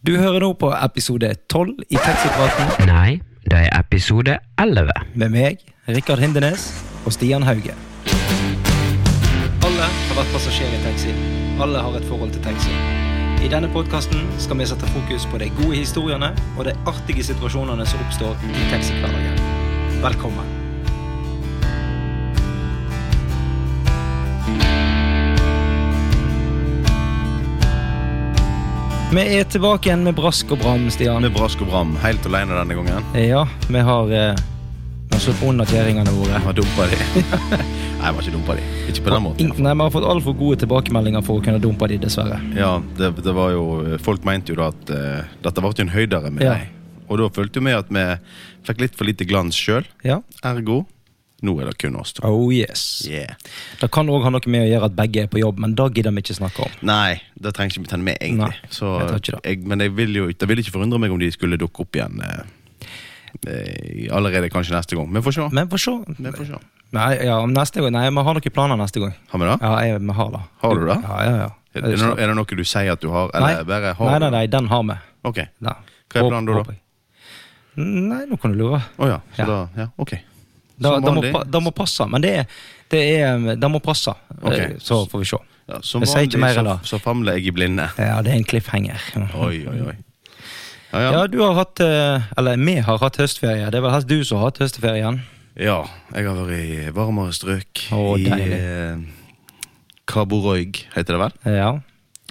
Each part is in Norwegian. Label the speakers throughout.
Speaker 1: Du hører nå på episode 12 i Taxipraten
Speaker 2: Nei, det er episode 11.
Speaker 1: med meg, Rikard Hindenes og Stian Hauge. Alle har vært passasjer i taxi. Alle har et forhold til taxi. I denne podkasten skal vi sette fokus på de gode historiene og de artige situasjonene som oppstår i taxihverdagen. Velkommen. Vi er tilbake igjen med brask og bram, Stian.
Speaker 3: Med brask og bram, helt alene denne gangen.
Speaker 1: Ja, vi har, eh, vi har sluppet unna kjerringene våre.
Speaker 3: Jeg var dumpa de. Nei, jeg var ikke dumpa de. Ikke på den måten.
Speaker 1: Ingen- Nei, Vi har fått altfor gode tilbakemeldinger for å kunne dumpe de, dessverre.
Speaker 3: Ja, det, det var jo, Folk mente jo da at eh, dette ble jo en høydere med
Speaker 1: Ja.
Speaker 3: deg. Og da følte jo vi at vi fikk litt for lite glans sjøl.
Speaker 1: Ja.
Speaker 3: Ergo, nå er det kun oss to.
Speaker 1: Oh yes.
Speaker 3: Yeah.
Speaker 1: Det kan òg ha noe med å gjøre at begge er på jobb, men det gidder vi ikke snakke om.
Speaker 3: Nei, det trenger ikke vi ta med, egentlig.
Speaker 1: Nei,
Speaker 3: Så,
Speaker 1: jeg tror ikke det.
Speaker 3: jeg, men jeg vil jo, det vil ikke forundre meg om de skulle dukke opp igjen eh, eh, allerede kanskje neste gang. Vi får se.
Speaker 1: Men for så
Speaker 3: Vi får se.
Speaker 1: Nei, ja, om neste gang Nei, vi har noen planer neste gang.
Speaker 3: Har vi det?
Speaker 1: Ja, jeg, vi har det.
Speaker 3: Har du det?
Speaker 1: Ja, ja, ja.
Speaker 3: Er, det no, er det noe du sier at du har,
Speaker 1: nei.
Speaker 3: eller bare har?
Speaker 1: nei, nei, nei, den har vi.
Speaker 3: Ok.
Speaker 1: Ja.
Speaker 3: Hva er
Speaker 1: Håp-
Speaker 3: planen da, da?
Speaker 1: håper jeg. Nei, nå kan du lure.
Speaker 3: Å ja. Så
Speaker 1: Ja.
Speaker 3: da Ja, ok.
Speaker 1: Det
Speaker 3: Som
Speaker 1: det må,
Speaker 3: vanlig.
Speaker 1: pa- det må passe, men det er, det er Det må passe.
Speaker 3: Ok.
Speaker 1: Eh, Så får vi se.
Speaker 3: Ja, som
Speaker 1: Jeg sier ikke
Speaker 3: vanlig
Speaker 1: mer enn
Speaker 3: så,
Speaker 1: det.
Speaker 3: så famler jeg i blinde.
Speaker 1: Ja, det er en cliffhanger.
Speaker 3: Oi, oi, oi. Ja,
Speaker 1: Ja.
Speaker 3: ja.
Speaker 1: du har hatt eh, Eller vi har hatt høstferie. Det er vel helst du som har hatt høstferien.
Speaker 3: ja jeg har vært i varmere strøk.
Speaker 1: Å,
Speaker 3: I
Speaker 1: deilig.
Speaker 3: eh, Kaboroig, heter det vel.
Speaker 1: Ja.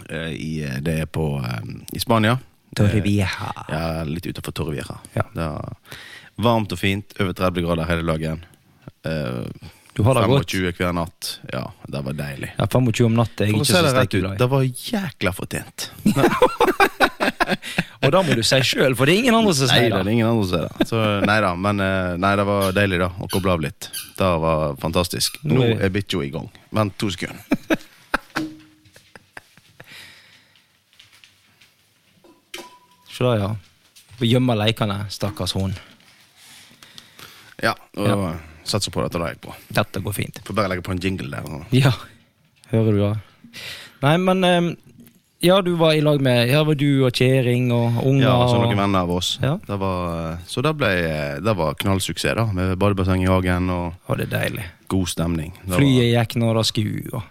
Speaker 3: Eh, i, eh, det er på eh, i Spania.
Speaker 1: Torrevieja.
Speaker 3: Eh, ja, litt utenfor Torrevieja.
Speaker 1: Ja.
Speaker 3: Det er Varmt og fint. Over 30 grader hele dagen. Eh,
Speaker 1: Du har det godt.
Speaker 3: 25 hver natt. Ja, det var deilig.
Speaker 1: Ja, 25 om natta er jeg
Speaker 3: For å
Speaker 1: ikke
Speaker 3: se
Speaker 1: så
Speaker 3: det rett
Speaker 1: sterk
Speaker 3: ut,
Speaker 1: glad i.
Speaker 3: det var jækla fortjent.
Speaker 1: Og da må du si sjøl, for det er ingen andre som
Speaker 3: Nei
Speaker 1: sier
Speaker 3: da, det er
Speaker 1: det.
Speaker 3: ingen andre som ser det. Så, nei da, men eh, nei, det var deilig da, å koble av litt. Det var fantastisk. Nå
Speaker 1: Nå er-
Speaker 3: er bikkja i gang. Vent to sekunder.
Speaker 1: Se der, ja. Og Gjemmer leikene, stakkars hund.
Speaker 3: Ja, og Satser på at det gikk bra.
Speaker 1: Dette går fint.
Speaker 3: Får bare legge på en jingle der. og-
Speaker 1: Ja. Hører du det? Nei, men eh, Ja, du var i lag med Ja, det var du og kjerring og unger
Speaker 3: Ja, som
Speaker 1: og
Speaker 3: noen venner av oss.
Speaker 1: Ja.
Speaker 3: Det var, eh, så det ble eh, det var knallsuksess, da. Med badebasseng i hagen og
Speaker 1: Å, det er deilig.
Speaker 3: god stemning. Det var-
Speaker 1: Flyet gikk når det skulle. og-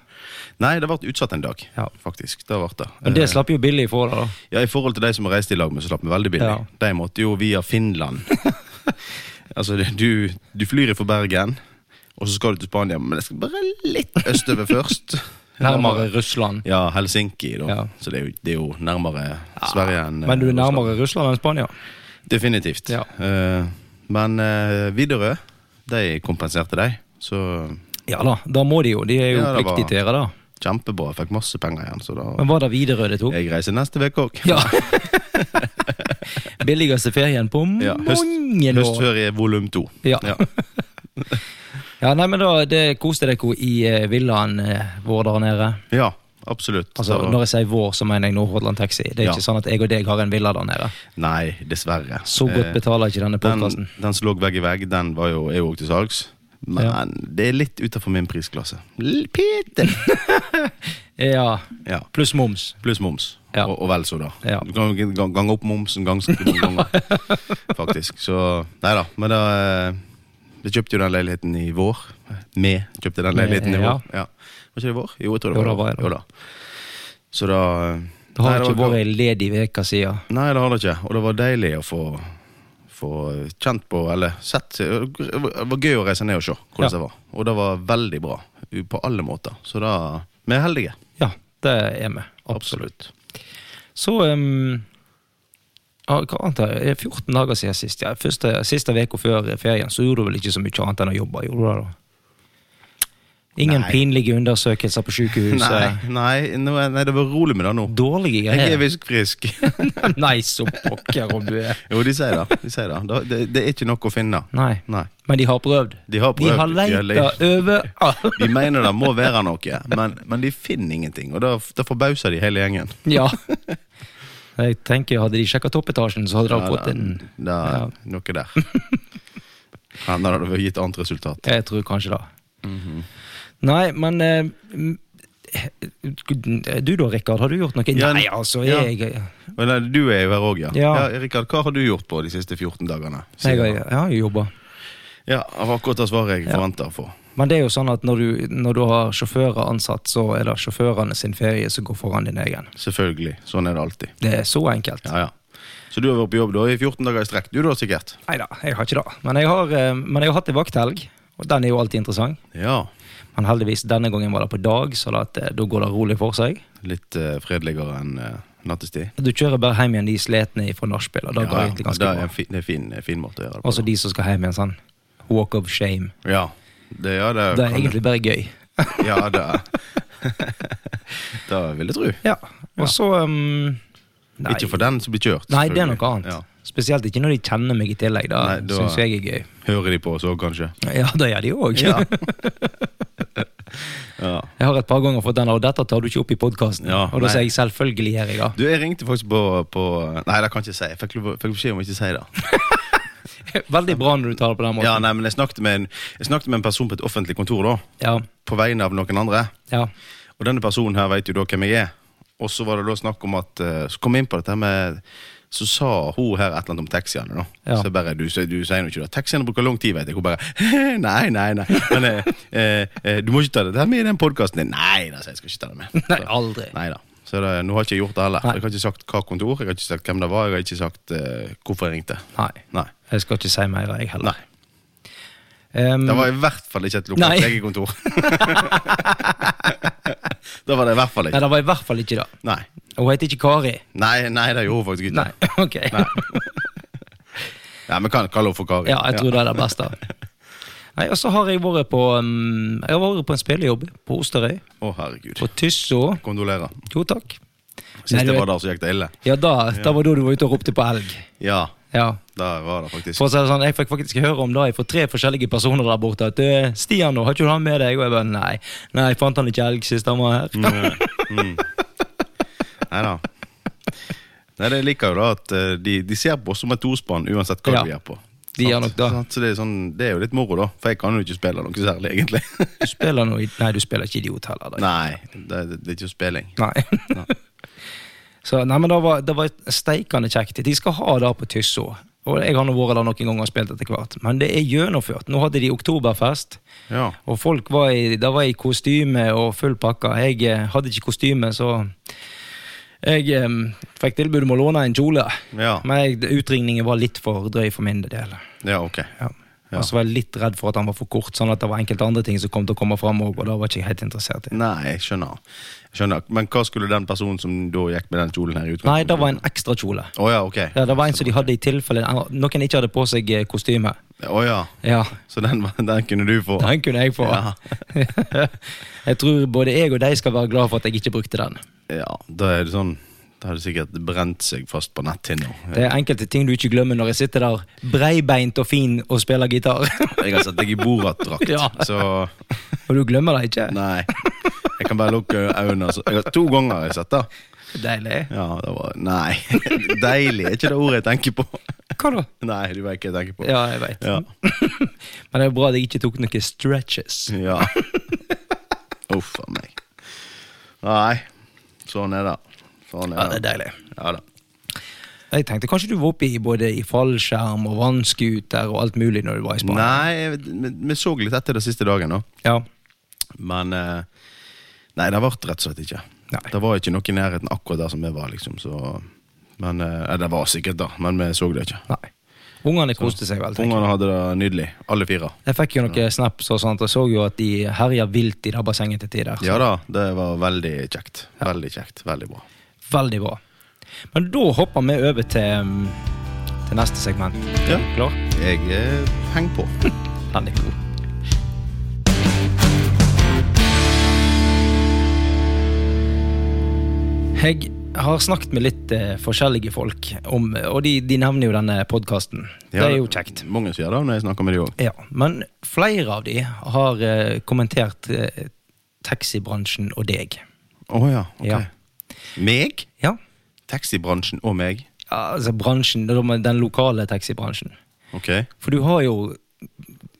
Speaker 3: Nei, det ble utsatt en dag,
Speaker 1: Ja.
Speaker 3: faktisk. Det ble det.
Speaker 1: Men det
Speaker 3: Eh,
Speaker 1: slapp jo billig ifra deg, da.
Speaker 3: Ja, I forhold til de som reiste i lag med, så slapp vi veldig billig.
Speaker 1: Ja.
Speaker 3: De måtte jo via Finland. altså, det- du, du flyr fra Bergen, og så skal du til Spania, men det skal bare litt østover først.
Speaker 1: Nærmere Russland.
Speaker 3: Ja, Helsinki, da.
Speaker 1: Ja.
Speaker 3: Så det er, jo, det er jo nærmere Sverige enn
Speaker 1: Men du er
Speaker 3: eh, Russland.
Speaker 1: nærmere Russland enn Spania?
Speaker 3: Definitivt.
Speaker 1: Ja.
Speaker 3: Eh, men eh, Widerøe, de kompenserte de, så
Speaker 1: Ja da, da må de jo. De er jo
Speaker 3: Ja, det var-
Speaker 1: pliktige til å gjøre det.
Speaker 3: kjempebra. Jeg fikk masse penger igjen, så da
Speaker 1: Men var det Widerøe det tok?
Speaker 3: Jeg reiser neste uke òg.
Speaker 1: Ja. Billigste ferien på
Speaker 3: Ja, høst-
Speaker 1: mange år.
Speaker 3: Høstferie volum to.
Speaker 1: Ja.
Speaker 3: Ja.
Speaker 1: Ja, nei, men da, det koste dere i eh, villaen eh, vår der nede.
Speaker 3: ja, absolutt.
Speaker 1: Altså,
Speaker 3: Så-
Speaker 1: Når jeg sier vår, så mener jeg Nordhordland Taxi. Det er
Speaker 3: Ja.
Speaker 1: ikke sånn at jeg og deg har en villa der nede.
Speaker 3: Nei, dessverre.
Speaker 1: Så godt
Speaker 3: Eh,
Speaker 1: betaler ikke denne podkasten.
Speaker 3: Den, den som lå vegg i vegg, den var jo, er jo også til salgs. Men
Speaker 1: Ja.
Speaker 3: det er litt utenfor min prisklasse. L- Bitte!
Speaker 1: Ja,
Speaker 3: ja.
Speaker 1: pluss moms.
Speaker 3: Pluss moms.
Speaker 1: Ja.
Speaker 3: Og, og vel så, da.
Speaker 1: Ja.
Speaker 3: Du kan jo g- gang- gange opp momsen ganske mange ganger, faktisk. Så nei da. Men da eh, Vi kjøpte jo den leiligheten i vår. Vi kjøpte den leiligheten i
Speaker 1: Eh, Ja.
Speaker 3: vår. Ja. Var ikke det vår? Jo, jeg
Speaker 1: Jo,
Speaker 3: tror det var,
Speaker 1: da var det.
Speaker 3: Jo da. Så da eh,
Speaker 1: Det har ikke
Speaker 3: var-
Speaker 1: vært ei ledig uke siden.
Speaker 3: Nei, det har det ikke. Og det var deilig å få, få kjent på, eller sett Det var gøy å reise ned og se hvordan
Speaker 1: Ja.
Speaker 3: det var. Og det var veldig bra. u- På alle måter. Så da Vi er heldige.
Speaker 1: Ja, det er vi.
Speaker 3: Absolutt.
Speaker 1: Så um, ja, hva annet er det? 14 dager siden sist. Ja, første, siste uka før ferien så gjorde du vel ikke så mye annet enn å jobbe? gjorde du det da? Ingen
Speaker 3: Nei.
Speaker 1: pinlige undersøkelser på
Speaker 3: Nei,
Speaker 1: sykehuset?
Speaker 3: nei, nå er- nei, det var rolig med det nå.
Speaker 1: Dårlige
Speaker 3: Jeg er
Speaker 1: greier?
Speaker 3: visst frisk.
Speaker 1: Nei, så pokker om du er.
Speaker 3: Jo, de sier det. De sier det. Da- det. Det er ikke nok å finne.
Speaker 1: Nei,
Speaker 3: Nei.
Speaker 1: men de har prøvd.
Speaker 3: De har
Speaker 1: De
Speaker 3: prøvd.
Speaker 1: har leita
Speaker 3: le-
Speaker 1: overalt.
Speaker 3: de mener det må være noe, men, men de finner ingenting. Og da, da forbauser de hele gjengen.
Speaker 1: Ja. Jeg tenker Hadde de sjekka toppetasjen, så hadde de
Speaker 3: Ja,
Speaker 1: fått en
Speaker 3: Det er
Speaker 1: Ja.
Speaker 3: noe der. Hender det hadde gitt annet resultat.
Speaker 1: Jeg tror kanskje det. Nei, men eh, m- Du da, Rikard, har du gjort noe?
Speaker 3: Ja,
Speaker 1: Nei, altså,
Speaker 3: ja.
Speaker 1: jeg ja.
Speaker 3: Men nei, du er jo her òg, ja. ja.
Speaker 1: Ja.
Speaker 3: Rikard, hva har du gjort på de siste 14 dagene?
Speaker 1: Jeg, har- jeg har jo jobba.
Speaker 3: Ja, av akkurat det svaret jeg forventer å få.
Speaker 1: Men det er jo sånn at når du, når du har sjåfører ansatt, så er det sjåførene sin ferie som går foran din egen.
Speaker 3: Selvfølgelig. Sånn er det alltid.
Speaker 1: Det er så enkelt.
Speaker 3: Ja, ja. Så du har vært på jobb da i 14 dager i strekk, du da sikkert?
Speaker 1: Nei da, jeg har ikke det. Men jeg har, eh, men jeg har hatt en vakthelg, og den er jo alltid interessant.
Speaker 3: Ja.
Speaker 1: Men heldigvis, denne gangen var det på dag, så da, at, eh, da går det rolig for seg.
Speaker 3: Litt eh, fredeligere enn eh, nattestid?
Speaker 1: Du kjører bare hjem igjen de sletne fra nachspiel, og det går egentlig ganske
Speaker 3: det er
Speaker 1: bra. Altså,
Speaker 3: en fin, det er fin, eh, fin måte å gjøre det på.
Speaker 1: Også de som skal hjem igjen sånn. Walk of shame.
Speaker 3: Ja, det, ja, det,
Speaker 1: Det er
Speaker 3: kan-
Speaker 1: egentlig bare gøy.
Speaker 3: Ja, det Det vil jeg tro.
Speaker 1: Ja, og så um, Nei.
Speaker 3: Ikke for den som blir kjørt.
Speaker 1: Nei, det er
Speaker 3: selvfølgelig.
Speaker 1: noe annet.
Speaker 3: Ja.
Speaker 1: Spesielt ikke når de kjenner meg i tillegg. Da,
Speaker 3: Nei, da-
Speaker 1: syns jeg er gøy.
Speaker 3: Hører de på oss òg, kanskje?
Speaker 1: Ja, det gjør de òg.
Speaker 3: Ja. ja.
Speaker 1: Jeg har et par ganger fått den, og dette tar du ikke opp i podkasten.
Speaker 3: Ja,
Speaker 1: og da
Speaker 3: nei.
Speaker 1: sier jeg selvfølgelig gjør jeg
Speaker 3: Du, jeg ringte faktisk på, på Nei, det kan jeg ikke si. Jeg fikk, lov- fikk beskjed om å ikke si det.
Speaker 1: det. Veldig bra når du tar det på den
Speaker 3: Ja,
Speaker 1: måten.
Speaker 3: nei, men jeg snakket, med en, jeg snakket med en person på et offentlig kontor da,
Speaker 1: Ja,
Speaker 3: på vegne av noen andre.
Speaker 1: ja,
Speaker 3: Og denne personen her vet jo da hvem jeg er. Og så var det da snakk om at eh, Så kom jeg inn på dette her med Så sa hun her et eller annet om taxiene, da.
Speaker 1: Ja.
Speaker 3: Så jeg bare du, sier- du sier jo ikke det. Taxiene bruker lang tid, vet jeg. Hun bare Nei, nei, nei. Men eh, eh, eh, du må ikke ta dette her med i den podkasten din. Nei da, sier jeg. Jeg Skal ikke ta det med.
Speaker 1: Nei, aldri.
Speaker 3: Nei da. Så det, nå har ikke jeg gjort det heller.
Speaker 1: Nei.
Speaker 3: Jeg har ikke sagt hva kontor, jeg har ikke sagt hvem det var, jeg har ikke sagt eh, hvorfor jeg ringte.
Speaker 1: nei.
Speaker 3: Nei.
Speaker 1: Jeg skal ikke si mer, jeg heller.
Speaker 3: Nei.
Speaker 1: Um,
Speaker 3: Det var i hvert fall ikke et
Speaker 1: Nei.
Speaker 3: lokalt legekontor. det var det i hvert fall
Speaker 1: nei,
Speaker 3: ikke.
Speaker 1: det var i hvert fall ikke det.
Speaker 3: Nei.
Speaker 1: Og Hun heter ikke Kari.
Speaker 3: Nei, nei, det gjorde hun faktisk ikke.
Speaker 1: Nei, ok.
Speaker 3: Ja, men kan kalle henne for Kari.
Speaker 1: Ja, jeg tror det er det beste. Nei, Og så har jeg vært på um, Jeg har vært på en spillejobb på Osterøy.
Speaker 3: Å, herregud.
Speaker 1: På Tysso.
Speaker 3: Kondolerer.
Speaker 1: Jo, takk.
Speaker 3: Sist
Speaker 1: Nei, du
Speaker 3: jeg var
Speaker 1: vet-
Speaker 3: der, så gikk det ille.
Speaker 1: Ja, da, da var da du var ute og ropte på elg.
Speaker 3: Ja,
Speaker 1: Ja.
Speaker 3: det var det faktisk.
Speaker 1: For å si det sånn, Jeg fikk faktisk høre om det fra tre forskjellige personer der borte. At «Du, 'Stian, nå, har ikke du han med deg?' Og jeg bare nei. Nei, jeg fant han ikke elg sist han var her.
Speaker 3: Nei da. Nei, det liker jo da at eh, de, de ser på oss som et tospann uansett hva
Speaker 1: Ja,
Speaker 3: vi gjør på.
Speaker 1: de gjør
Speaker 3: Sant?
Speaker 1: nok det.
Speaker 3: Sant? Så det er, sånn, det er jo litt moro, da. For jeg kan jo ikke spille noe særlig, egentlig.
Speaker 1: Du spiller noe i- Nei, du spiller ikke idiot heller. da.
Speaker 3: Nei, det, det er ikke spilling.
Speaker 1: Nei. Så nei, men det var, det var steikende kjekt. De skal ha det på Tysso. Og jeg har nå vært der noen ganger og spilt etter hvert. Men det er gjennomført. Nå hadde de oktoberfest.
Speaker 3: Ja.
Speaker 1: Og folk var i, da var jeg i kostyme og full pakka. Jeg eh, hadde ikke kostyme, så jeg eh, fikk tilbud om å låne en kjole.
Speaker 3: Ja.
Speaker 1: Men jeg, utringningen var litt for drøy for min del.
Speaker 3: ja, ok.
Speaker 1: Ja.
Speaker 3: Ja.
Speaker 1: Og så var jeg litt redd for at han var for kort, sånn at det var enkelte andre ting som kom til å komme fram òg, og da var ikke jeg helt interessert i.
Speaker 3: Nei, jeg skjønner. Jeg skjønner. Men hva skulle den personen som da gikk med den kjolen her
Speaker 1: Nei,
Speaker 3: i utgangspunktet?
Speaker 1: det var en ekstra kjole.
Speaker 3: Å ja, ok.
Speaker 1: Ja, det var en som de hadde i tilfelle noen ikke hadde på seg eh, kostyme.
Speaker 3: Å ja.
Speaker 1: Ja,
Speaker 3: Så den, var- den kunne du få?
Speaker 1: den kunne jeg få.
Speaker 3: Ja.
Speaker 1: jeg tror både jeg og de skal være glad for at jeg ikke brukte den.
Speaker 3: Ja, da er det sånn Da har det sikkert brent seg fast på netthinna.
Speaker 1: Det er enkelte ting du ikke glemmer når jeg sitter der breibeint og fin og spiller gitar.
Speaker 3: Jeg har sett deg i Borat-drakt,
Speaker 1: Ja.
Speaker 3: så
Speaker 1: og du glemmer det ikke?
Speaker 3: Nei. Jeg kan bare lukke øynene. Så. Jeg har to ganger har jeg sett det.
Speaker 1: Deilig.
Speaker 3: Ja, det var Nei. Deilig er ikke det ordet jeg tenker på.
Speaker 1: Hva da?
Speaker 3: Nei, du vet ikke hva jeg tenker på.
Speaker 1: Ja, jeg veit.
Speaker 3: Ja.
Speaker 1: Men det er bra at jeg ikke tok noen stretches.
Speaker 3: ja. Uff a meg. Nei. Sånn er det. Sånn
Speaker 1: Ja, det
Speaker 3: er
Speaker 1: er
Speaker 3: det.
Speaker 1: deilig.
Speaker 3: Ja da.
Speaker 1: Jeg tenkte kanskje du var oppe i både i fallskjerm og vannskuter og alt mulig når du var i Spania.
Speaker 3: Nei, jeg- vi vi så litt etter det siste dagen, da.
Speaker 1: Ja.
Speaker 3: Men eh, Nei, det ble rett og slett ikke.
Speaker 1: Nei.
Speaker 3: Det var ikke noe i nærheten akkurat der som vi var, liksom. Så, men eh, ja, Det var sikkert, da, men vi så det ikke.
Speaker 1: Nei. Ungene koste seg vel. tenker jeg.
Speaker 3: Ungene hadde det nydelig, alle fire.
Speaker 1: Jeg fikk jo noen snaps og sånt, og så jo at de herja vilt i det bassenget til tider.
Speaker 3: Ja da, det var veldig kjekt. Veldig kjekt, veldig bra.
Speaker 1: Veldig bra. Men da hopper vi over til, um, til neste segment. Er
Speaker 3: Ja.
Speaker 1: du klar?
Speaker 3: Jeg eh, henger på.
Speaker 1: Den er god. Jeg har snakket med litt eh, forskjellige folk, om, og de, de nevner jo denne podkasten. det er jo kjekt.
Speaker 3: Mange sier det når jeg snakker med de òg.
Speaker 1: Ja, Men flere av de har eh, kommentert eh, taxibransjen og deg.
Speaker 3: Å ja, ok.
Speaker 1: Ja.
Speaker 3: Meg?
Speaker 1: Ja,
Speaker 3: Taxibransjen og meg.
Speaker 1: altså bransjen, da må- den lokale taxibransjen.
Speaker 3: Ok.
Speaker 1: For du har jo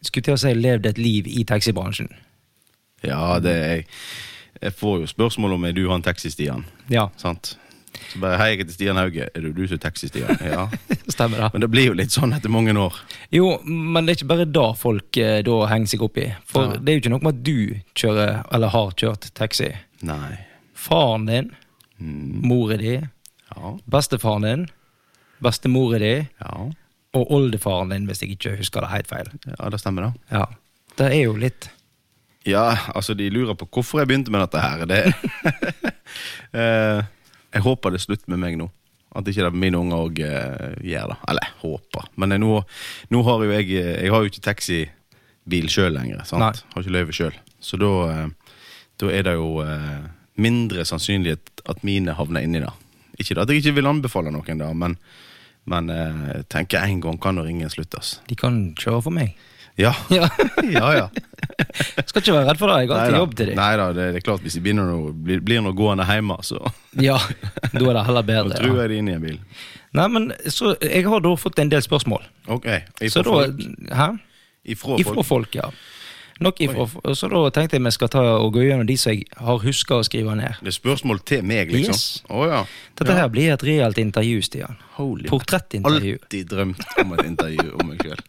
Speaker 1: skulle til å si, levd et liv i taxibransjen.
Speaker 3: Ja, det er jeg. Jeg får jo spørsmål om er du han taxi-Stian.
Speaker 1: Ja,
Speaker 3: Sant? Så bare Hei, jeg heter Stian Hauge. Er det du som er taxi-Stian? Ja.
Speaker 1: stemmer det.
Speaker 3: Men det blir jo litt sånn etter mange år.
Speaker 1: Jo, men det er ikke bare da folk eh, da henger seg opp i. For
Speaker 3: Ja.
Speaker 1: det er jo ikke noe med at du kjører, eller har kjørt, taxi.
Speaker 3: Nei.
Speaker 1: Faren din,
Speaker 3: Mm.
Speaker 1: moren din,
Speaker 3: Ja.
Speaker 1: bestefaren din, bestemoren din
Speaker 3: ja.
Speaker 1: og oldefaren din, hvis jeg ikke husker det helt feil.
Speaker 3: Ja, det stemmer, det.
Speaker 1: Ja, Det er jo litt
Speaker 3: Ja, altså, de lurer på hvorfor jeg begynte med dette her. Det Eh, Jeg håper det er slutt med meg nå. At ikke det mine unger òg gjør det. Eller håper. Men jeg, nå, nå har jo jeg eh, Jeg har jo ikke taxibil sjøl lenger. Sant?
Speaker 1: Nei.
Speaker 3: Har ikke løyve sjøl. Så da, eh, da er det jo eh, mindre sannsynlighet at mine havner inni det. Ikke det at jeg ikke vil anbefale noen det, men, men eh, jeg tenker en gang kan nå ringen sluttes.
Speaker 1: De kan kjøre for meg.
Speaker 3: Ja.
Speaker 1: Ja,
Speaker 3: ja, ja.
Speaker 1: Skal ikke være redd for det. Jeg har alltid jobb til deg.
Speaker 3: Nei da, det, det er klart hvis de begynner noe, blir, blir noe gående hjemme, så
Speaker 1: Ja, Da er det heller
Speaker 3: Nå
Speaker 1: bedre.
Speaker 3: tror
Speaker 1: Ja.
Speaker 3: jeg de er inne i en bil.
Speaker 1: Nei, men så Jeg har da fått en del spørsmål.
Speaker 3: Ok,
Speaker 1: Så
Speaker 3: ifra
Speaker 1: da
Speaker 3: folk.
Speaker 1: Hæ?
Speaker 3: Ifra
Speaker 1: Ifra
Speaker 3: folk.
Speaker 1: folk, ja. Nok ifra, og så da tenkte jeg vi skal ta og gå gjennom de som jeg har huska å skrive ned.
Speaker 3: Det er spørsmål til meg, liksom.
Speaker 1: Yes.
Speaker 3: Å ja.
Speaker 1: Dette her blir et reelt intervju, Stian.
Speaker 3: Holy
Speaker 1: Portrettintervju.
Speaker 3: Alltid drømt om et intervju om meg sjøl.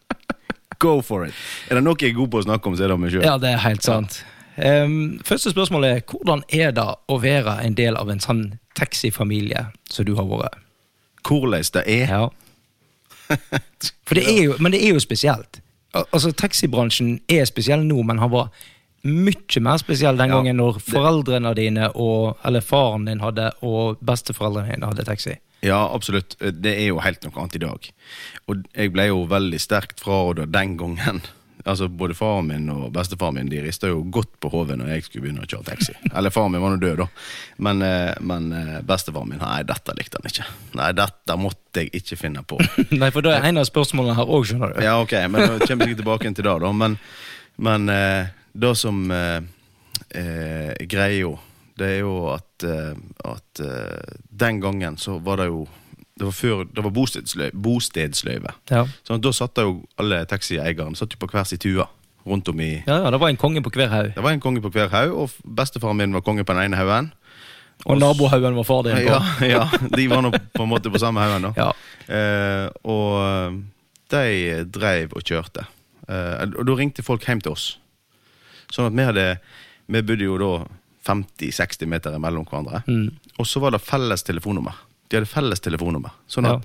Speaker 3: Go for it! Er det noe jeg er god på å snakke om, så er det om meg sjøl.
Speaker 1: Ja, det er helt sant. Ehm, første spørsmål er hvordan er det å være en del av en sånn taxifamilie som du har vært?
Speaker 3: Hvordan det er.
Speaker 1: Ja. For det er jo, men det er jo spesielt. Al- Altså, Taxibransjen er spesiell nå, men han var mye mer spesiell den
Speaker 3: Ja,
Speaker 1: gangen når foreldrene dine, og, eller faren din hadde, og besteforeldrene dine hadde taxi.
Speaker 3: Ja, absolutt. Det er jo helt noe annet i dag. Og jeg ble jo veldig sterkt fraråda den gangen. Altså, Både faren min og bestefaren min de rista jo godt på hodet når jeg skulle begynne å kjøre taxi. Eller faren min var nå død, da. Men, eh, men eh, bestefaren min nei, dette likte han ikke. Nei, dette måtte jeg ikke finne på.
Speaker 1: Nei, for det er en av spørsmålene her òg, skjønner du.
Speaker 3: Ja, ok, men da kommer vi tilbake til det, da. Men, men eh, det som eh, eh, greier jo, det er jo at, eh, at eh, den gangen så var det jo Det var, før, det var bostedsløy, bostedsløyve.
Speaker 1: Ja.
Speaker 3: Så da satt det jo alle taxieierne satt jo på hver sin tue rundt om i
Speaker 1: Ja, ja, det var en konge på hver haug.
Speaker 3: Det var en konge på hver haug, og bestefaren min var konge på den ene haugen.
Speaker 1: Og nabohaugen var far din. på.
Speaker 3: Ja, ja, de var nå på en måte på samme haugen, da.
Speaker 1: Ja.
Speaker 3: Eh, og de dreiv og kjørte. Eh, og da ringte folk hjem til oss. Sånn at vi hadde Vi bodde jo da 50-60 meter mellom hverandre.
Speaker 1: Mm.
Speaker 3: Og så var det felles telefonnummer. De hadde felles telefonnummer. Sånn at
Speaker 1: Ja.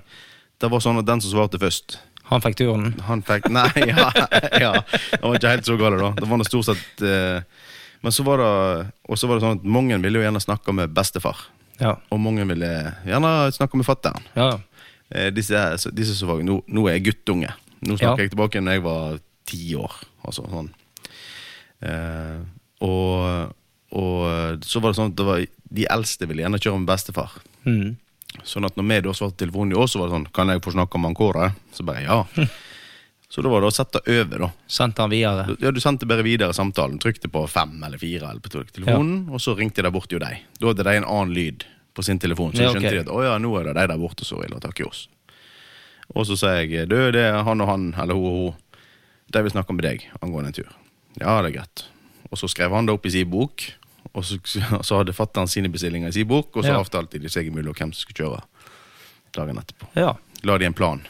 Speaker 3: det var sånn at den som svarte først
Speaker 1: Han fikk turen.
Speaker 3: han fikk Nei, ja, ja. Det var ikke helt så galt, da. Det var noe stort sett eh, Men så var det Og så var det sånn at mange ville jo gjerne snakke med bestefar.
Speaker 1: Ja.
Speaker 3: Og mange ville gjerne snakke med fatter'n.
Speaker 1: ja.
Speaker 3: Eh, disse, er- så- disse som var, nå, nå er jeg guttunge. Nå snakker
Speaker 1: Ja.
Speaker 3: jeg tilbake når jeg var ti år. Altså, sånn. eh, og, og så var det sånn at det var, de eldste ville gjerne kjøre med bestefar.
Speaker 1: Mm.
Speaker 3: Sånn at når vi da svarte telefonen i år, så var det sånn Kan jeg få snakke med han Kåre? Så bare ja. Så da var det å sette over, da.
Speaker 1: Sendte han videre.
Speaker 3: Ja, Du sendte bare videre samtalen. Trykte på fem eller fire eller på telefonen, og så ringte de bort til deg. Da hadde de en annen lyd på sin telefon, så
Speaker 1: Ja,
Speaker 3: skjønte
Speaker 1: ok.
Speaker 3: de at å ja, nå er det de der borte som vil ha tak i oss. Og så sa jeg du, det er han og han, eller hun og hun, de vil snakke med deg angående en tur. Ja, det er greit. Og så skrev han det opp i sin bok, og så, så hadde fatter'n sine bestillinger i sin bok, og så
Speaker 1: Ja.
Speaker 3: avtalte de seg imellom hvem som skulle kjøre dagen etterpå.
Speaker 1: Ja.
Speaker 3: La de en plan,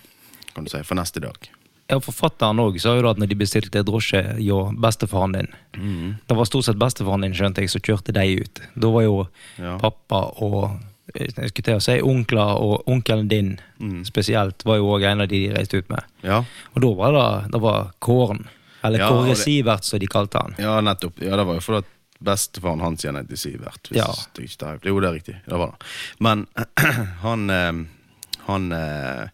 Speaker 3: kan du si, for neste dag.
Speaker 1: Ja, Forfatteren òg sa jo da at når de bestilte drosje hjå bestefaren din
Speaker 3: Mm.
Speaker 1: Det var stort sett bestefaren din, skjønte jeg, som kjørte deg ut. Da var jo
Speaker 3: Ja.
Speaker 1: pappa og jeg skulle til å si onkler og onkelen din
Speaker 3: Mm.
Speaker 1: spesielt var jo òg en av de de reiste ut med.
Speaker 3: Ja.
Speaker 1: Og da var det, det var Kåren. Eller
Speaker 3: Ja, og
Speaker 1: Kåre
Speaker 3: det-
Speaker 1: Sivert, som de kalte han.
Speaker 3: Ja, nettopp. Ja, det var jo fordi at bestefaren hans igjen heter Sivert. Hvis
Speaker 1: Ja.
Speaker 3: det ikke tar Jo, det er riktig. Det var det. Men han eh, Han eh,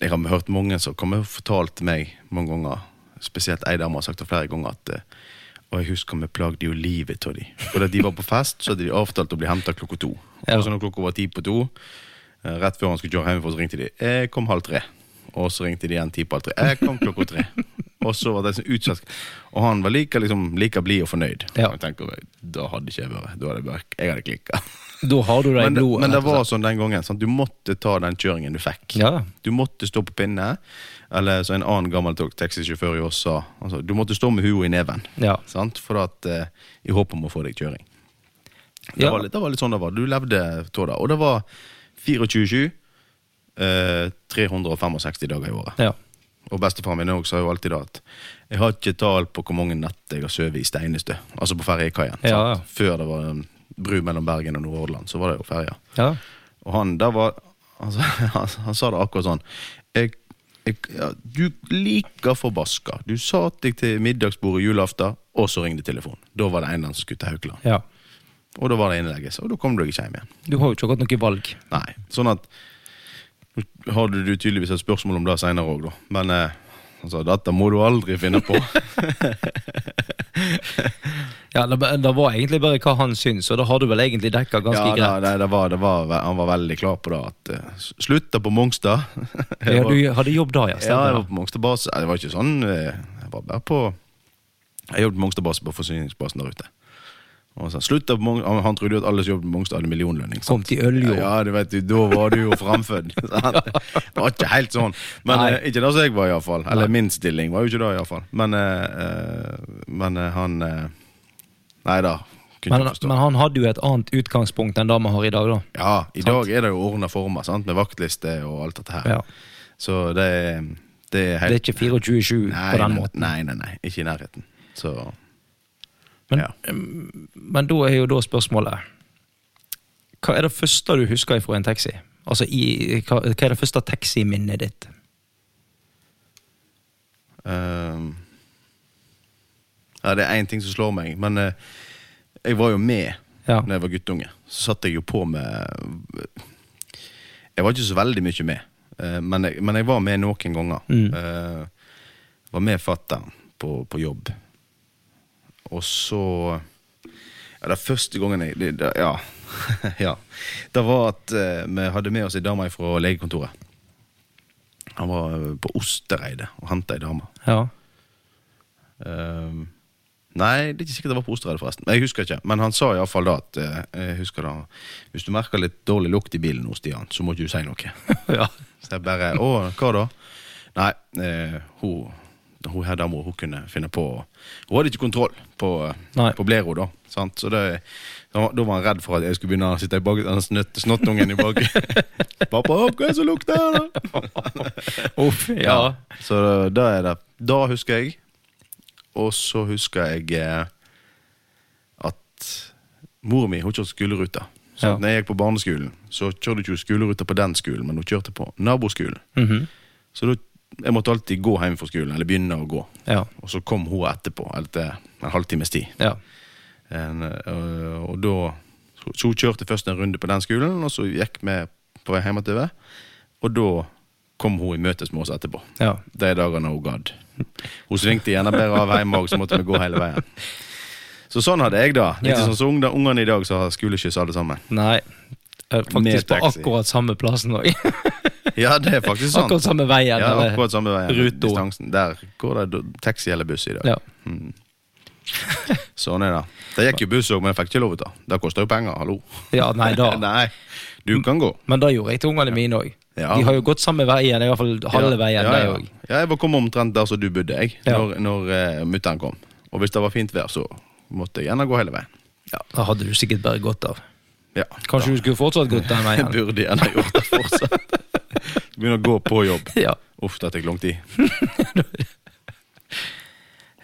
Speaker 3: Jeg har hørt mange som kommer og fortalt meg mange ganger, spesielt ei dame har sagt det flere ganger, at eh, og jeg husker vi plagde jo livet av de. For de var på fest, så hadde de avtalt å bli henta klokka to.
Speaker 1: Ja.
Speaker 3: Og så når klokka var ti på to, eh, rett før han skulle kjøre hjem, så ringte de. Jeg kom halv tre. Og så ringte de igjen ti på halv tre. Jeg kom klokka tre. Og så var det sånn utsatt. Og han var like, liksom, like blid og fornøyd.
Speaker 1: Ja.
Speaker 3: Jeg tenker, da hadde ikke jeg vært Da hadde jeg vært Jeg hadde klikka.
Speaker 1: Da har du det i
Speaker 3: Men, det-
Speaker 1: blodet.
Speaker 3: men det
Speaker 1: rett og
Speaker 3: var
Speaker 1: slett.
Speaker 3: sånn den gangen. Sant? Du måtte ta den kjøringen du fikk.
Speaker 1: Ja,
Speaker 3: Du måtte stå på pinne, eller som en annen gammel tok- taxisjåfør i oss sa. Altså, du måtte stå med hua i neven,
Speaker 1: ja.
Speaker 3: sant? for at, eh, i håp om å få deg kjøring. Det,
Speaker 1: Ja.
Speaker 3: var litt, det var litt sånn det var. Du levde tå da. Og det var 24-7, eh, 365 dager i året.
Speaker 1: Ja.
Speaker 3: Og bestefaren min også sa jo alltid da at jeg har ikke tall på hvor mange natt jeg har sovet i Steinestø, altså på ferjekaien. sant?
Speaker 1: Ja, ja.
Speaker 3: Før det var um, bru mellom Bergen og Nordhordland, så var det jo ferja.
Speaker 1: ja.
Speaker 3: Og han der var altså, han, han sa det akkurat sånn. Jeg, jeg, ja, du liker forbaska. Du sa deg til middagsbordet julaften, og så ringte telefonen. Da var det en eller annen som skulle til Haukeland.
Speaker 1: ja.
Speaker 3: Og da var det innleggelse, og da kom du deg ikke hjem igjen.
Speaker 1: Du har jo ikke hatt noe valg.
Speaker 3: Nei, sånn at Nå har du du tydeligvis et spørsmål om det senere òg, da. Men eh, han sa dette må du aldri finne på.
Speaker 1: Ja, det, det var egentlig bare hva han syns, og det har du vel egentlig dekka ganske
Speaker 3: ja,
Speaker 1: greit.
Speaker 3: det, det var, det var, Han var veldig klar på det. At eh, slutta på Mongstad. Jeg
Speaker 1: Ja,
Speaker 3: var-
Speaker 1: du hadde jobb da, ja.
Speaker 3: ja, jeg
Speaker 1: Stemmer.
Speaker 3: var på Mongstad base. Nei, Det var ikke sånn. eh, Jeg var bare på Jeg jobbet på Mongstad base på forsyningsbasen der ute. Og så slutta på Mong- han- Han trodde jo at alle som jobbet på Mongstad, hadde millionlønning. sant?
Speaker 1: Kom til Øljå.
Speaker 3: Ja, du vet, du, da var du jo framfødd. sant? Det var ikke helt sånn. Men
Speaker 1: Nei.
Speaker 3: eh, ikke det som jeg var, iallfall. Eller
Speaker 1: Nei.
Speaker 3: min stilling var jo ikke det, iallfall. Men, eh, eh, men eh, han eh, Nei da. Kunne
Speaker 1: Men,
Speaker 3: ikke forstå.
Speaker 1: men han hadde jo et annet utgangspunkt enn det vi har i dag, da.
Speaker 3: Ja, i dag er det jo ordna former, sant? med vaktliste og alt dette her.
Speaker 1: Ja.
Speaker 3: Så det er, det er
Speaker 1: Det er
Speaker 3: helt
Speaker 1: ikke 24-7 på den måten.
Speaker 3: Nei, nei, nei, ikke i nærheten. Så
Speaker 1: Men-
Speaker 3: ja.
Speaker 1: Men da er jo da spørsmålet Hva er det første du husker fra en taxi? Altså, i, hva, hva er det første taximinnet ditt?
Speaker 3: ehm, ja, det er én ting som slår meg, men eh, jeg var jo med
Speaker 1: Ja.
Speaker 3: Når jeg var guttunge. Så satt jeg jo på med Jeg var ikke så veldig mye med, eh, men jeg, men jeg var med noen ganger.
Speaker 1: Mm.
Speaker 3: Eh, var med fatter'n på, på jobb. Og så Ja, det første gangen jeg det, det, Ja. ja. Det var at eh, vi hadde med oss ei dame fra legekontoret. Han var eh, på Ostereidet og henta ei dame.
Speaker 1: Ja.
Speaker 3: Ehm, nei, det er ikke sikkert det var på Osterøy, forresten. Jeg husker ikke, Men han sa iallfall da at eh, jeg husker da, hvis du merker litt dårlig lukt i bilen hos Stian, så må ikke du si noe.
Speaker 1: ja.
Speaker 3: Så jeg bare Å, hva da? Nei, eh, hun, hun her dama, hun kunne finne på Hun hadde ikke kontroll på,
Speaker 1: Nei.
Speaker 3: på Blero, da. Sant? Så det, da da var han redd for at jeg skulle begynne å sitte i bak, den snøtt- snottungen i bak. 'Pappa, hva er det som lukter?' her da?
Speaker 1: Uff, ja.
Speaker 3: Så da er det Da husker jeg Og så husker jeg eh, At Moren min, hun kjørte skoleruta Så
Speaker 1: Ja.
Speaker 3: når jeg gikk på barneskolen Så kjørte hun ikke skoleruta på den skolen Men hun kjørte på naboskolen
Speaker 1: Mhm.
Speaker 3: Så da, jeg måtte alltid gå hjem fra skolen Eller begynne å gå
Speaker 1: ja.
Speaker 3: Og så kom hun etterpå Etter en halvtimes tid
Speaker 1: ja.
Speaker 3: en, øh, og da Så hun kjørte først en runde på den skolen, og så gikk vi på vei hjemover. Og da kom hun i møtes med oss etterpå.
Speaker 1: Ja.
Speaker 3: De dagene hun gadd. Hun svingte gjerne bedre av hjemme òg, så måtte vi gå hele veien. Så sånn hadde jeg da. Litt
Speaker 1: Ja.
Speaker 3: sånn som ungdom- ungene i dag som har skoleskyss alle sammen.
Speaker 1: Nei. Eh, Faktisk
Speaker 3: Med
Speaker 1: på
Speaker 3: taxi.
Speaker 1: akkurat samme plassen òg.
Speaker 3: Ja, det er faktisk sant.
Speaker 1: akkurat samme veien.
Speaker 3: ja,
Speaker 1: eller-
Speaker 3: akkurat samme veien.
Speaker 1: ruta.
Speaker 3: Distansen. Der går det do- taxi eller buss i dag.
Speaker 1: Ja.
Speaker 3: Sånn er det. Det gikk jo buss òg, men jeg fikk ikke lov til å ta. Det koster jo penger, hallo.
Speaker 1: ja, nei da.
Speaker 3: Nei, du kan gå.
Speaker 1: Men det gjorde jeg til ungene mine òg.
Speaker 3: Ja.
Speaker 1: De har jo gått samme veien, i hvert fall halve veien,
Speaker 3: ja,
Speaker 1: de
Speaker 3: ja.
Speaker 1: òg.
Speaker 3: Ja, jeg var kommet omtrent der som du bodde, jeg,
Speaker 1: Ja.
Speaker 3: når, når eh, mutter'n kom. Og hvis det var fint vær, så måtte jeg gjerne gå hele veien.
Speaker 1: Ja, det hadde du sikkert bare godt av.
Speaker 3: Ja.
Speaker 1: Kanskje du skulle fortsatt gått den
Speaker 3: Jeg
Speaker 1: veien?
Speaker 3: burde gjerne gjort det fortsatt. Begynne å gå på jobb.
Speaker 1: ja.
Speaker 3: Uff, det tok lang tid.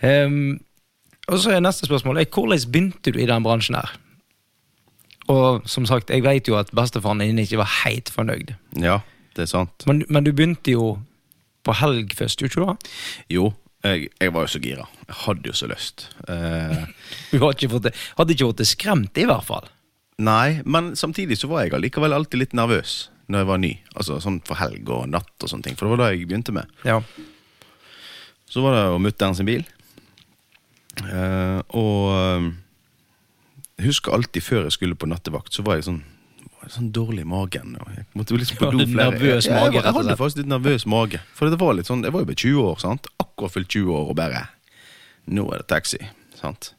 Speaker 1: Ehm, og så er neste spørsmål er, hvordan begynte du i den bransjen her? Og som sagt, jeg vet jo at bestefaren din ikke var helt fornøyd.
Speaker 3: Ja, det er sant.
Speaker 1: Men, men du begynte jo på helg først, gjorde du ikke det?
Speaker 3: Jo, jeg, jeg var jo så gira. Jeg hadde jo så lyst. Eh,
Speaker 1: Du hadde ikke fått det, hadde ikke fått det skremt, i hvert fall.
Speaker 3: nei, men samtidig så var jeg allikevel alltid litt nervøs når jeg var ny. Altså sånn for helg og natt og sånne ting. For det var da jeg begynte med.
Speaker 1: Ja.
Speaker 3: Så var det jo mutter'n sin bil. Eh, og eh, jeg husker alltid før jeg skulle på nattevakt, så var jeg sånn var jeg sånn dårlig i magen. og Jeg måtte jo liksom på
Speaker 1: Du hadde
Speaker 3: do flere-
Speaker 1: nervøs
Speaker 3: Ja,
Speaker 1: mage,
Speaker 3: Jeg, var-
Speaker 1: rett
Speaker 3: jeg
Speaker 1: og
Speaker 3: hadde
Speaker 1: slett.
Speaker 3: faktisk litt nervøs mage. For det var litt sånn, jeg var jo bare 20 år, sant? akkurat fylt 20 år, og bare Nå er det taxi. sant?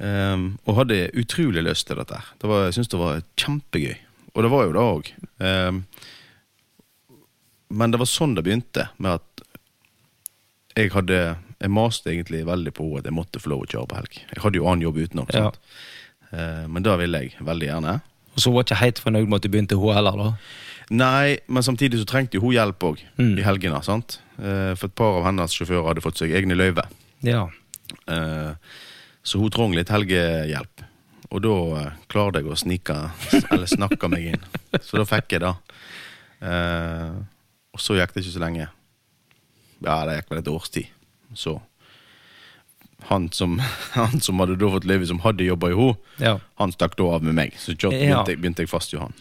Speaker 3: Ehm, og hadde utrolig lyst til dette. her. Det var, jeg syntes det var kjempegøy. Og det var jo det òg. men det var sånn det begynte, med at jeg hadde Jeg maste egentlig veldig på at jeg måtte få lov å kjøre på helg. Jeg hadde jo annen jobb utenom.
Speaker 1: Ja.
Speaker 3: Sant? Eh, Men det ville jeg veldig gjerne.
Speaker 1: Og så var ikke helt fornøyd med at du begynte i H heller, da.
Speaker 3: Nei, men samtidig så trengte jo hun hjelp òg,
Speaker 1: Mm.
Speaker 3: i helgene. sant? Eh, For et par av hennes sjåfører hadde fått seg egne løyve.
Speaker 1: Ja.
Speaker 3: Eh, Så hun trong litt helgehjelp. Og da eh, klarte jeg å snike eller snakke meg inn. Så da fikk jeg det. Eh, Og så gikk det ikke så lenge. Ja, det gikk vel et års tid. Så han som, han som hadde da fått løyve, som hadde jobba i henne,
Speaker 1: ja.
Speaker 3: han stakk da av med meg. Så kjørte-
Speaker 1: Ja.
Speaker 3: begynte, jeg- begynte jeg fast i han.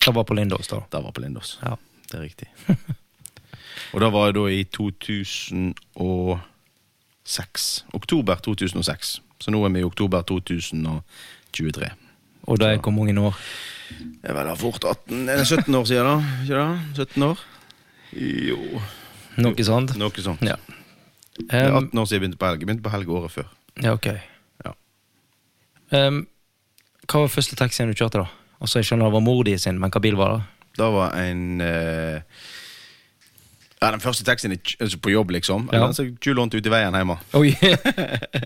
Speaker 1: Det var på Lindås, da.
Speaker 3: Der var på Lindås.
Speaker 1: Ja.
Speaker 3: Det er riktig. Og da var jeg da i 2006. Oktober 2006. Så nå er vi i oktober 2023.
Speaker 1: Og det er hvor mange år?
Speaker 3: Det er vel da fort 18 Er det 17 år siden, da? Ikke det? 17 år? Jo
Speaker 1: Noe sånt?
Speaker 3: Noe sånt.
Speaker 1: Ja.
Speaker 3: Det er
Speaker 1: Em,
Speaker 3: 18 år siden jeg begynte på helg. Jeg begynte på helg året før.
Speaker 1: ja, ok.
Speaker 3: Ja.
Speaker 1: Em, hva var første taxien du kjørte, da? Altså, Jeg skjønner det var mor di sin, men hva bil var det?
Speaker 3: Da var en eh, Ja, den første taxien jeg kj- altså på jobb, liksom.
Speaker 1: Ja.
Speaker 3: Ja. Den som jeg lånte ut i veien hjemme.
Speaker 1: Oi!